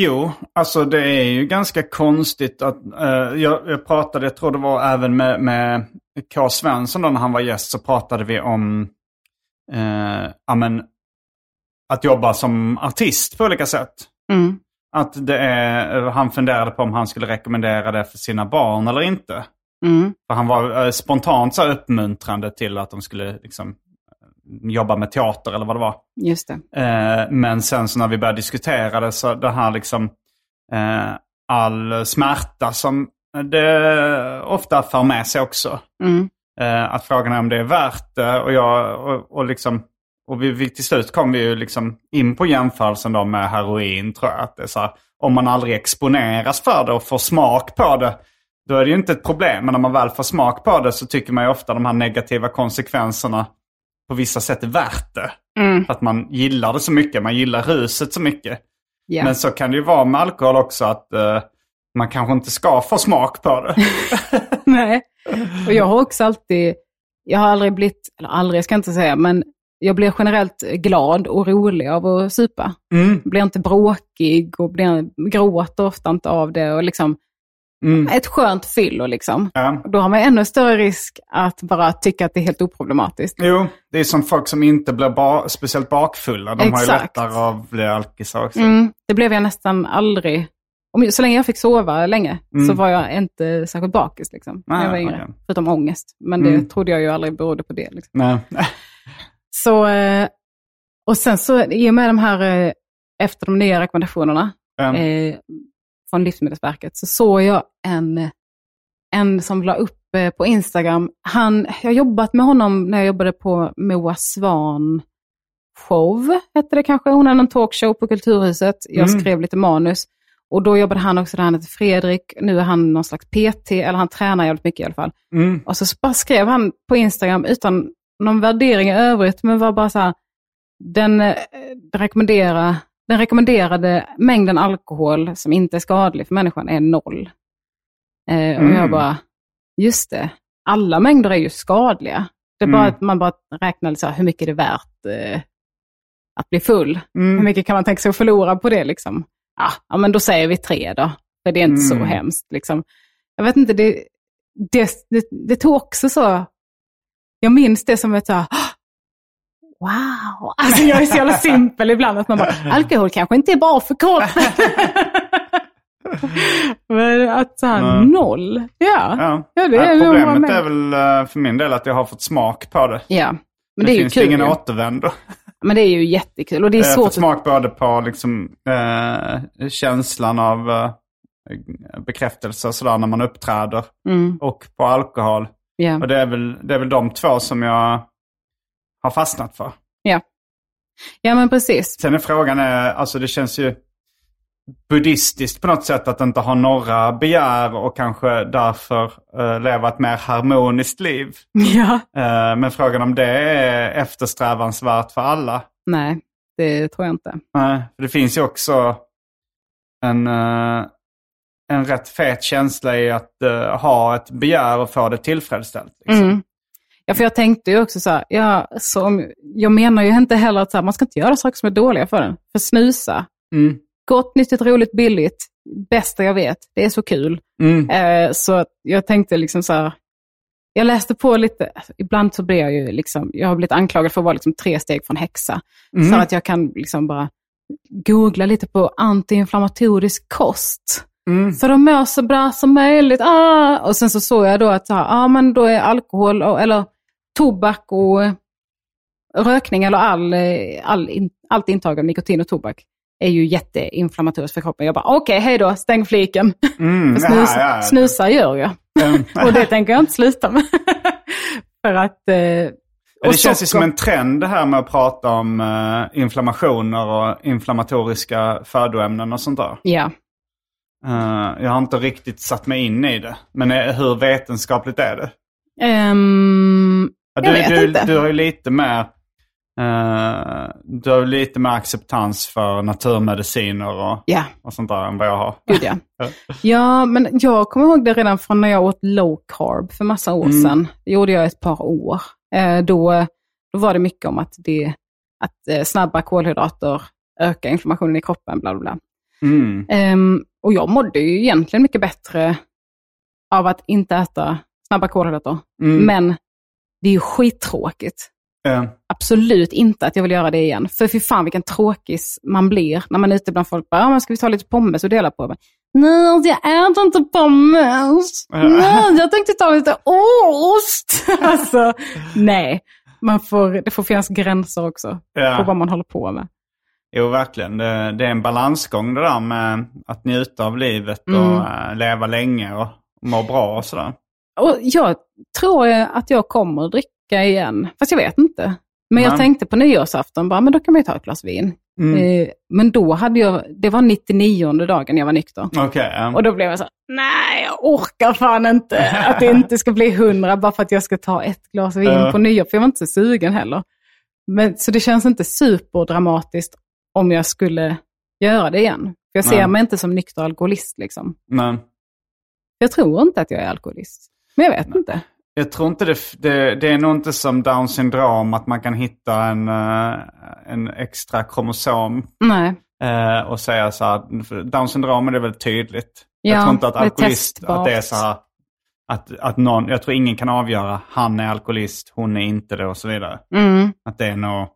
B: Jo, alltså det är ju ganska konstigt att, eh, jag, jag pratade, jag tror det var även med, med K. Svensson då när han var gäst, så pratade vi om eh, ja, men, att jobba som artist på olika sätt.
C: Mm.
B: Att det är, han funderade på om han skulle rekommendera det för sina barn eller inte.
C: Mm.
B: För han var eh, spontant så här uppmuntrande till att de skulle liksom, jobba med teater eller vad det var.
C: Just det.
B: Eh, men sen så när vi började diskutera det så det här liksom eh, all smärta som det ofta för med sig också.
C: Mm.
B: Eh, att frågan är om det är värt det och jag och, och liksom och vi, vi, till slut kom vi ju liksom in på jämförelsen då med heroin tror jag. Att det är så här, om man aldrig exponeras för det och får smak på det, då är det ju inte ett problem. Men när man väl får smak på det så tycker man ju ofta de här negativa konsekvenserna på vissa sätt är värt det.
C: Mm.
B: För att man gillar det så mycket, man gillar ruset så mycket.
C: Ja.
B: Men så kan det ju vara med alkohol också att eh, man kanske inte ska få smak på det.
C: Nej. Och jag har också alltid, jag har aldrig blivit, eller aldrig ska jag inte säga, men jag blir generellt glad och rolig av att supa.
B: Mm,
C: Blir inte bråkig och blir, gråter ofta inte av det. Och liksom,
B: mm,
C: ett skönt fyllo liksom.
B: ja.
C: Då har man ännu större risk att bara tycka att det är helt oproblematiskt.
B: Jo, det är som folk som inte blir ba- speciellt bakfulla. De har ju
C: Exakt.
B: lättare att bli alkisar också.
C: Mm, det blev jag nästan aldrig. Om, så länge jag fick sova länge så var jag inte särskilt bakis liksom, när jag
B: Mm. Nej,
C: var yngre.
B: okej.
C: Förutom ångest. Men det
B: Mm.
C: trodde jag ju aldrig berodde på det. Liksom.
B: Nej.
C: Så, eh, och sen så i och med de här, eh, efter de nya rekommendationerna
B: Mm.
C: eh, från Livsmedelsverket, så såg jag en, en som la upp eh, på Instagram. Han, jag har jobbat med honom när jag jobbade på Moa Svan show, hette det kanske. Hon hade en talkshow på Kulturhuset. Jag
B: Mm.
C: skrev lite manus. Och då jobbade han också där, han hette Fredrik. Nu är han någon slags PT, eller han tränar jävligt mycket i alla fall.
B: Mm.
C: Och så bara skrev han på Instagram utan någon värdering i övrigt, men var bara så här, den, eh, den, rekommendera, den rekommenderade mängden alkohol som inte är skadlig för människan är noll. Eh, och
B: Mm.
C: jag bara, just det, alla mängder är ju skadliga. Det är bara
B: Mm.
C: att man bara räknar så här, hur mycket är det värt eh, att bli full? Hur
B: Mm.
C: mycket kan man tänka sig att förlora på det? Liksom? Ja, ja, men då säger vi tre då, för det är inte så
B: Mm.
C: hemskt. Liksom. Jag vet inte, det, det, det, det tog också så... Jag minns det som ett så här, "Ah, Wow! Alltså jag är så jävla simpel ibland att man bara, alkohol kanske inte är bra för kroppen. Men att så här,
B: Nej.
C: noll. Ja.
B: Ja.
C: Ja, det
B: Nej,
C: är nog vad
B: Problemet
C: man-
B: är väl eh, för min del att jag har fått smak på det.
C: ja. Men det, är ju
B: finns
C: kul.
B: ingen
C: ju.
B: återvändo.
C: Men det är ju jättekul. Och det är
B: Jag har fått
C: svårt att...
B: smak både på liksom, eh, känslan av eh, bekräftelse och sådär när man uppträder
C: Mm.
B: och på alkohol.
C: Ja.
B: Och det är, väl, det är väl de två som jag har fastnat för.
C: Ja. ja, men precis.
B: Sen är frågan, är, alltså det känns ju buddhistiskt på något sätt att inte ha några begär och kanske därför eh, leva ett mer harmoniskt liv.
C: Ja.
B: Eh, men frågan om det är eftersträvansvärt för alla.
C: Nej, det tror jag inte.
B: Nej, för det finns ju också en, eh, en rätt fet känsla i att eh, ha ett begär och få det tillfredsställt. Liksom.
C: Mm. Ja, för jag tänkte ju också så här, ja, som, jag menar ju inte heller att så här, man ska inte göra saker som är dåliga för en. För snusa,
B: Mm.
C: gott, nyttigt, roligt, billigt, bästa jag vet, det är så kul.
B: Mm.
C: Eh, så att jag tänkte liksom så här, jag läste på lite, Alltså, ibland så blir jag ju liksom, jag har blivit anklagad för att vara liksom tre steg från häxa. Så att jag kan liksom bara googla lite på antiinflammatorisk kost.
B: Mm.
C: Så de mår så bra som möjligt. Ah! Och sen så såg jag då att så här, ah, men då är alkohol, och, eller tobak och rökning eller all, eh, all in, allt intag av nikotin och tobak är ju jätteinflammatoriskt för kroppen. Jag bara, okej, hej då, stäng fliken.
B: Mm.
C: För snus,
B: Ja, ja, ja.
C: Snusar gör jag.
B: Mm.
C: Och det tänker jag inte sluta med. för att... Eh,
B: Ja,
C: och
B: Det känns ju som
C: socker.
B: en trend det här med att prata om eh, inflammationer och inflammatoriska födoämnen och sånt där.
C: Ja.
B: Eh, jag har inte riktigt satt mig in i det. Men eh, hur vetenskapligt är det?
C: Ehm,
B: Ja,
C: Jag vet
B: du,
C: inte.
B: du har ju lite mer, eh, du har ju lite mer acceptans för naturmediciner och,
C: ja,
B: och sånt där än vad jag har.
C: gud ja. Ja, men jag kommer ihåg det redan från när jag åt low carb för massa år
B: Mm.
C: sedan. Det gjorde jag ett par år. Eh, då, då var det mycket om att, det, att eh, snabba kolhydrater ökar inflammationen i kroppen, bla bla bla.
B: Mm.
C: Ehm, och jag mådde ju egentligen mycket bättre av att inte äta snabba kolhydrater.
B: Mm.
C: Men det är ju skittråkigt.
B: Eh,
C: Absolut inte att jag vill göra det igen. För fy fan vilken tråkis man blir när man är ute bland folk. Bara, "Ja, men ska vi ta lite pommes och dela på? Men, Nej, alltså, jag äter inte pommes. Nej, jag tänkte ta lite ost. alltså, nej. Man får, det får finnas gränser också på
B: ja.
C: vad man håller på med.
B: Jo, verkligen. Det, det är en balansgång det där med att njuta av livet
C: Mm.
B: och eh, leva länge och må bra och sådär.
C: Och jag tror eh, att jag kommer att dricka igen. Fast jag vet inte. Men jag
B: Nej.
C: tänkte på nyårsafton, bara, men då kan man ju ta ett glas vin.
B: Mm.
C: Eh, Men då hade jag, det var 99 dagen jag var nykter.
B: Okej. eh.
C: Och då blev jag så här, nej jag orkar fan inte att det inte ska bli hundra bara för att jag ska ta ett glas vin
B: Ja.
C: på nyår. För jag var inte så sugen heller. Men, så det känns inte superdramatiskt om jag skulle göra det igen. För jag ser
B: Nej.
C: mig inte som nykter alkoholist. Liksom.
B: Men
C: Jag tror inte att jag är alkoholist. Men jag vet inte.
B: jag tror inte det, det, det är nog inte som down syndrom att man kan hitta en, eh, en extra kromosom
C: Nej.
B: Eh, och säga så här, för Down syndrom är det väldigt tydligt.
C: Ja,
B: jag tror inte att
C: det är
B: alkoholist, att det är
C: testbart.
B: så här, att, att någon, jag tror ingen kan avgöra, han är alkoholist, hon är inte det och så vidare.
C: Mm.
B: Att det är nog,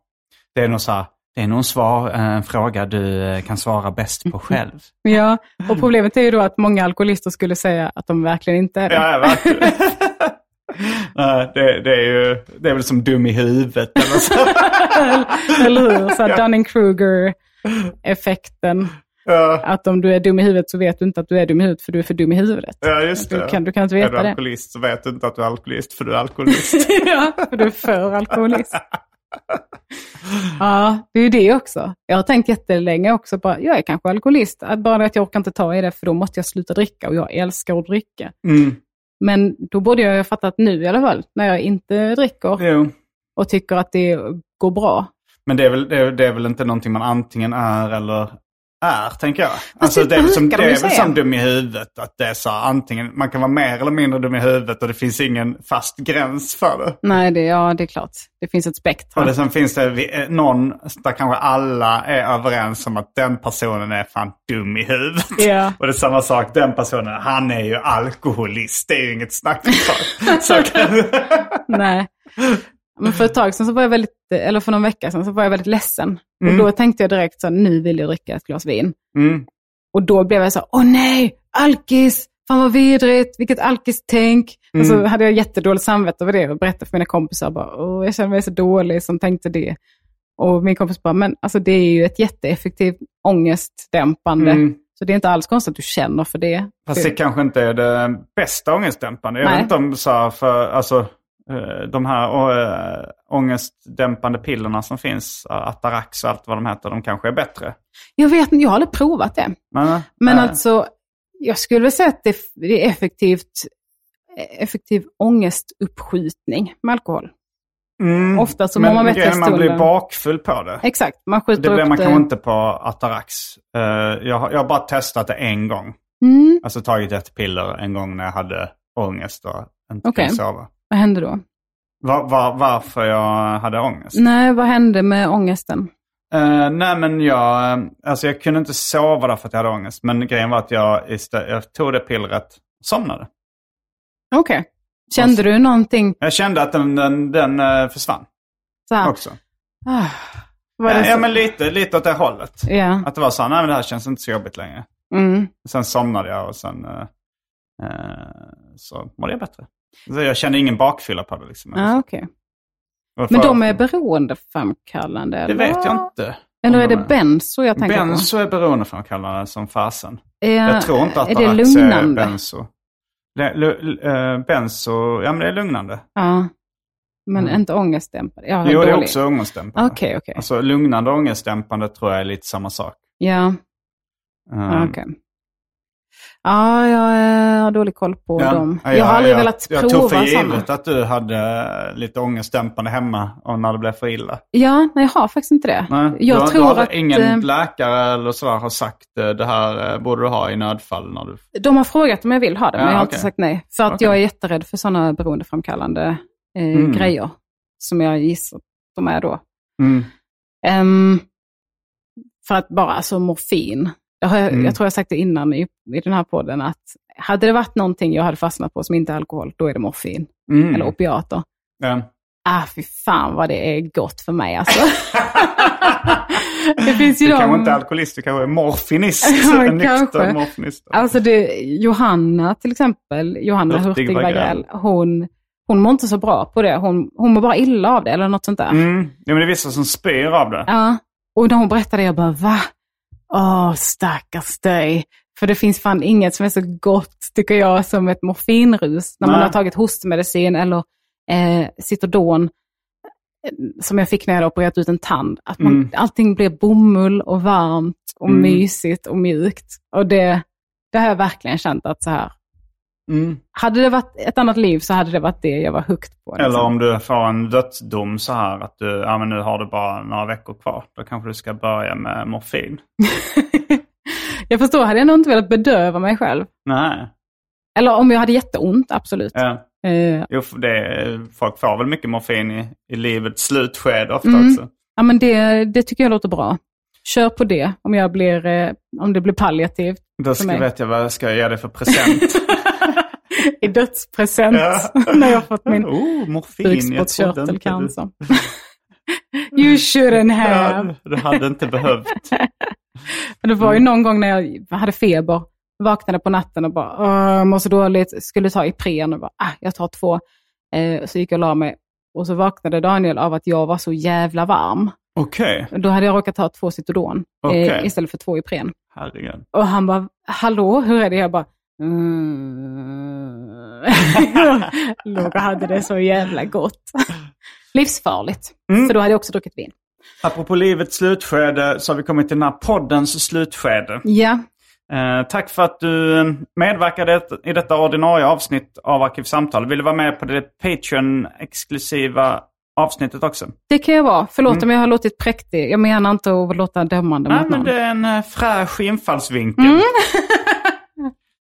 B: det är nog så här, det är nog en, svar, eh, en fråga du eh, kan svara bäst på själv.
C: Ja, och problemet är ju då att många alkoholister skulle säga att de verkligen inte är det.
B: ja, verkligen. Eh, det, det är ju, det är väl som dum i huvudet eller så.
C: Eller hur? Så här Dunning-Kruger-effekten.
B: Ja,
C: Att om du är dum i huvudet så vet du inte att du är dum i huvudet för du är för dum i huvudet.
B: ja, just det.
C: Du kan, du kan inte
B: är du
C: veta det.
B: alkoholist så vet du inte att du är alkoholist för du är alkoholist.
C: ja, för du är för alkoholist. ja, det är ju det också. Jag har tänkt jättelänge också, bara, jag är kanske alkoholist. Att Bara det att jag orkar inte ta i det för då måste jag sluta dricka och jag älskar att dricka.
B: Mm.
C: Men då borde jag ju ha fattat nu i alla fall, när jag inte dricker
B: Jo.
C: och tycker att det går bra.
B: Men det är, väl, det, är, det är väl inte någonting man antingen är eller är, tänker jag. Alltså,
C: det
B: det är väl som, det
C: brukar de ju
B: är väl
C: säga.
B: som dum i huvudet. Att det är så här, antingen, man kan vara mer eller mindre dum i huvudet och det finns ingen fast gräns för det.
C: Nej, det, ja, det är klart. Det finns ett
B: Och
C: spektrum.
B: det, sen finns det vi- eh, någon där kanske alla är överens om att den personen är fan dum i huvudet.
C: Ja.
B: Och det är samma sak, den personen, han är ju alkoholist. Det är ju inget snack om saken. Så kan-
C: Nej. Men för ett tag sedan, så var jag väldigt, eller för någon vecka sedan, så var jag väldigt ledsen.
B: Mm.
C: Och då tänkte jag direkt så här, nu vill jag dricka ett glas vin.
B: Mm.
C: Och då blev jag så här, åh nej, alkis, fan vad vidrigt, vilket alkis-tänk. Och
B: Mm.
C: så hade jag jättedåligt samvete över det och berättade för mina kompisar, bara, åh, jag känner mig så dålig som tänkte det. Och min kompis bara, men alltså det är ju ett jätteeffektivt ångestdämpande.
B: Mm.
C: Så det är inte alls konstigt att du känner för det.
B: Fast det kanske inte är det bästa ångestdämpande. Jag
C: Nej.
B: vet inte om så här för, alltså, eh, de här eh, ångestdämpande pillerna som finns, eh, Atarax och allt vad de heter, de kanske är bättre.
C: Jag vet inte, jag har aldrig provat det.
B: Men,
C: Men
B: eh,
C: alltså, jag skulle väl säga att det, det är effektivt, effektiv ångestuppskjutning med alkohol.
B: mm,
C: ofta så
B: men
C: mår man bättre i
B: grejen är att Man blir
C: stunden.
B: bakfull på det.
C: Exakt, man skjuter
B: Det blir
C: upp
B: man
C: det.
B: kanske inte på Atarax. Eh, jag, har, jag har bara testat det en gång.
C: Mm,
B: Alltså tagit ett piller en gång när jag hade ångest och inte
C: Okej.
B: kunde sova.
C: vad hände då?
B: Var, var, varför jag hade ångest?
C: Nej, vad hände med ångesten?
B: Eh, nej men jag, eh, alltså jag kunde inte sova därför att jag hade ångest. Men grejen var att jag, istä- jag tog det pillret och somnade.
C: Okej. Kände
B: Alltså-
C: du någonting
B: Jag kände att den, den, den eh, försvann
C: så här?
B: också. Eh,
C: Ah, var det
B: Ja,
C: så?
B: ja men lite, lite åt det hållet.
C: Ja.
B: Att det var så här, nej men det här känns inte så jobbigt längre.
C: Mm.
B: Sen somnade jag och sen eh, eh, så mådde jag bättre. Så jag kände ingen bakfylla på det liksom.
C: Ah, okej.
B: Och
C: Men
B: för-
C: de är beroendeframkallande?
B: Det
C: eller?
B: vet jag inte.
C: Eller är
B: om de
C: det benzo jag tänker
B: Benzo är beroendeframkallande som fasen.
C: på? Eh,
B: Jag tror inte att
C: Är det
B: Atarax är
C: lugnande?
B: benzo. Le- lu- l- eh, Benzo, ja men det är lugnande.
C: Ja. Men
B: Mm.
C: inte ångestdämpande? Jag har
B: Jo, det är
C: dålig-
B: också ångestdämpande.
C: Okej, okej.
B: Alltså lugnande och ångestdämpande tror jag är lite samma sak.
C: Ja,
B: Um,
C: okej. Ja, jag eh, har dålig koll på
B: ja,
C: dem.
B: ja,
C: jag har aldrig
B: jag,
C: velat
B: jag,
C: prova
B: Jag tog för
C: sådana.
B: givet att du hade eh, lite ångestdämpande hemma och när det blev för illa.
C: Ja, nej, jag har faktiskt inte det.
B: Nej,
C: jag
B: du, har-
C: tror
B: du har
C: att
B: ingen
C: eh,
B: läkare eller sådär har sagt eh, det här eh, borde du ha i nödfall när du...
C: de har frågat om jag vill ha det, men
B: Ja,
C: jag har
B: okej.
C: inte sagt nej. För att
B: Okej.
C: jag är jätterädd för sådana beroendeframkallande eh,
B: Mm.
C: grejer, som jag gissar att de är då.
B: Mm.
C: Ehm, för att bara, alltså morfin. Jag, har,
B: Mm.
C: jag tror jag sagt det innan i, i den här podden, att hade det varit någonting jag hade fastnat på som inte är alkohol, då är det morfin.
B: Mm.
C: Eller opiater.
B: Ja.
C: Ah, fy fan vad det är gott för mig alltså. det finns ju
B: Du kanske
C: de...
B: inte är alkoholist, du kanske är morfinist.
C: Ja,
B: en nykter
C: kanske.
B: morfinist.
C: Alltså det, Johanna till exempel, Johanna
B: Hurtig
C: Hurtig
B: Wagrell.
C: Wagrell, hon, hon mår inte så bra på det. Hon, hon mår bara illa av det eller något sånt där.
B: Mm. Ja, men det är vissa som spyr av det.
C: Ja. Och när hon berättade jag bara va? Åh, stackars dig. För det finns fan inget som är så gott, tycker jag, som ett morfinrus. När man
B: Nej.
C: har tagit hostmedicin eller eh, Citodon, eh, som jag fick när jag hade opererat ut en tand. Att man,
B: Mm.
C: Allting blir bomull och varmt och
B: Mm.
C: mysigt och mjukt. Och det, det har jag verkligen känt att så här,
B: Mm.
C: hade det varit ett annat liv så hade det varit det jag var hooked på.
B: Eller
C: liksom.
B: om du får en dödsdom så här att du, ja men nu har du bara några veckor kvar. Då kanske du ska börja med morfin.
C: jag förstår, hade jag nog inte velat bedöva mig själv.
B: Nej.
C: Eller om jag hade jätteont, absolut.
B: Ja.
C: Eh,
B: Jo, för det, folk får väl mycket morfin i, i livets slutskede ofta
C: Mm.
B: också.
C: ja, men det, det tycker jag låter bra. Kör på det om, jag blir, eh, om det blir palliativt.
B: Då
C: För
B: ska,
C: mig.
B: vet jag vad jag ska ge dig för present.
C: I dödspresent
B: Ja.
C: när jag fått min
B: oh, morfin. Jag trodde inte du...
C: bukspottkörtelcancer. you shouldn't have.
B: Ja, du hade inte behövt.
C: Men Det var ju någon gång när jag hade feber, vaknade på natten och bara "Åh, jag mår så dåligt, skulle ta Ipren och bara ah, jag tar två. Eh, så gick jag och la mig. Och så vaknade Daniel av att jag var så jävla varm.
B: Okej,
C: Då hade jag råkat ta två Citodon
B: Okej.
C: eh, istället för två Ipren.
B: herregud.
C: Och han bara, hallå, hur är det? Jag bara, mm. Låg och hade det så jävla gott. Livsfarligt.
B: Mm.
C: För då hade jag också druckit vin.
B: Apropå livets slutskede så har vi kommit till den här poddens slutskede.
C: Ja,
B: Eh, tack för att du eh, medverkade i detta ordinarie avsnitt av Arkivsamtal. Vill du vara med på det Patreon-exklusiva avsnittet också?
C: det kan jag vara. Förlåt om jag har låtit präktig. Jag menar inte att låta dömande
B: Mm. Nej,
C: mot
B: men
C: någon. Mm.
B: det är en eh, fräsch infallsvinkel.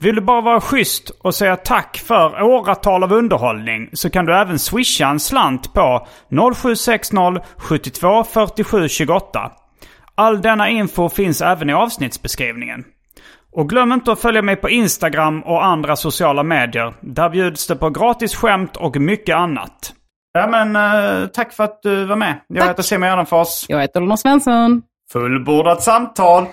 B: Vill du bara vara schysst och säga tack för åratal av underhållning så kan du även swisha en slant på 0760 72 47 28. All denna info finns även i avsnittsbeskrivningen. Och glöm inte att följa mig på Instagram och andra sociala medier. Där bjuds det på gratis skämt och mycket annat. Ja men eh, tack för att du var med. Jag heter Simon Gärdenfors.
C: Jag heter Lorna Svensson.
B: Fullbordat samtal.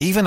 D: Even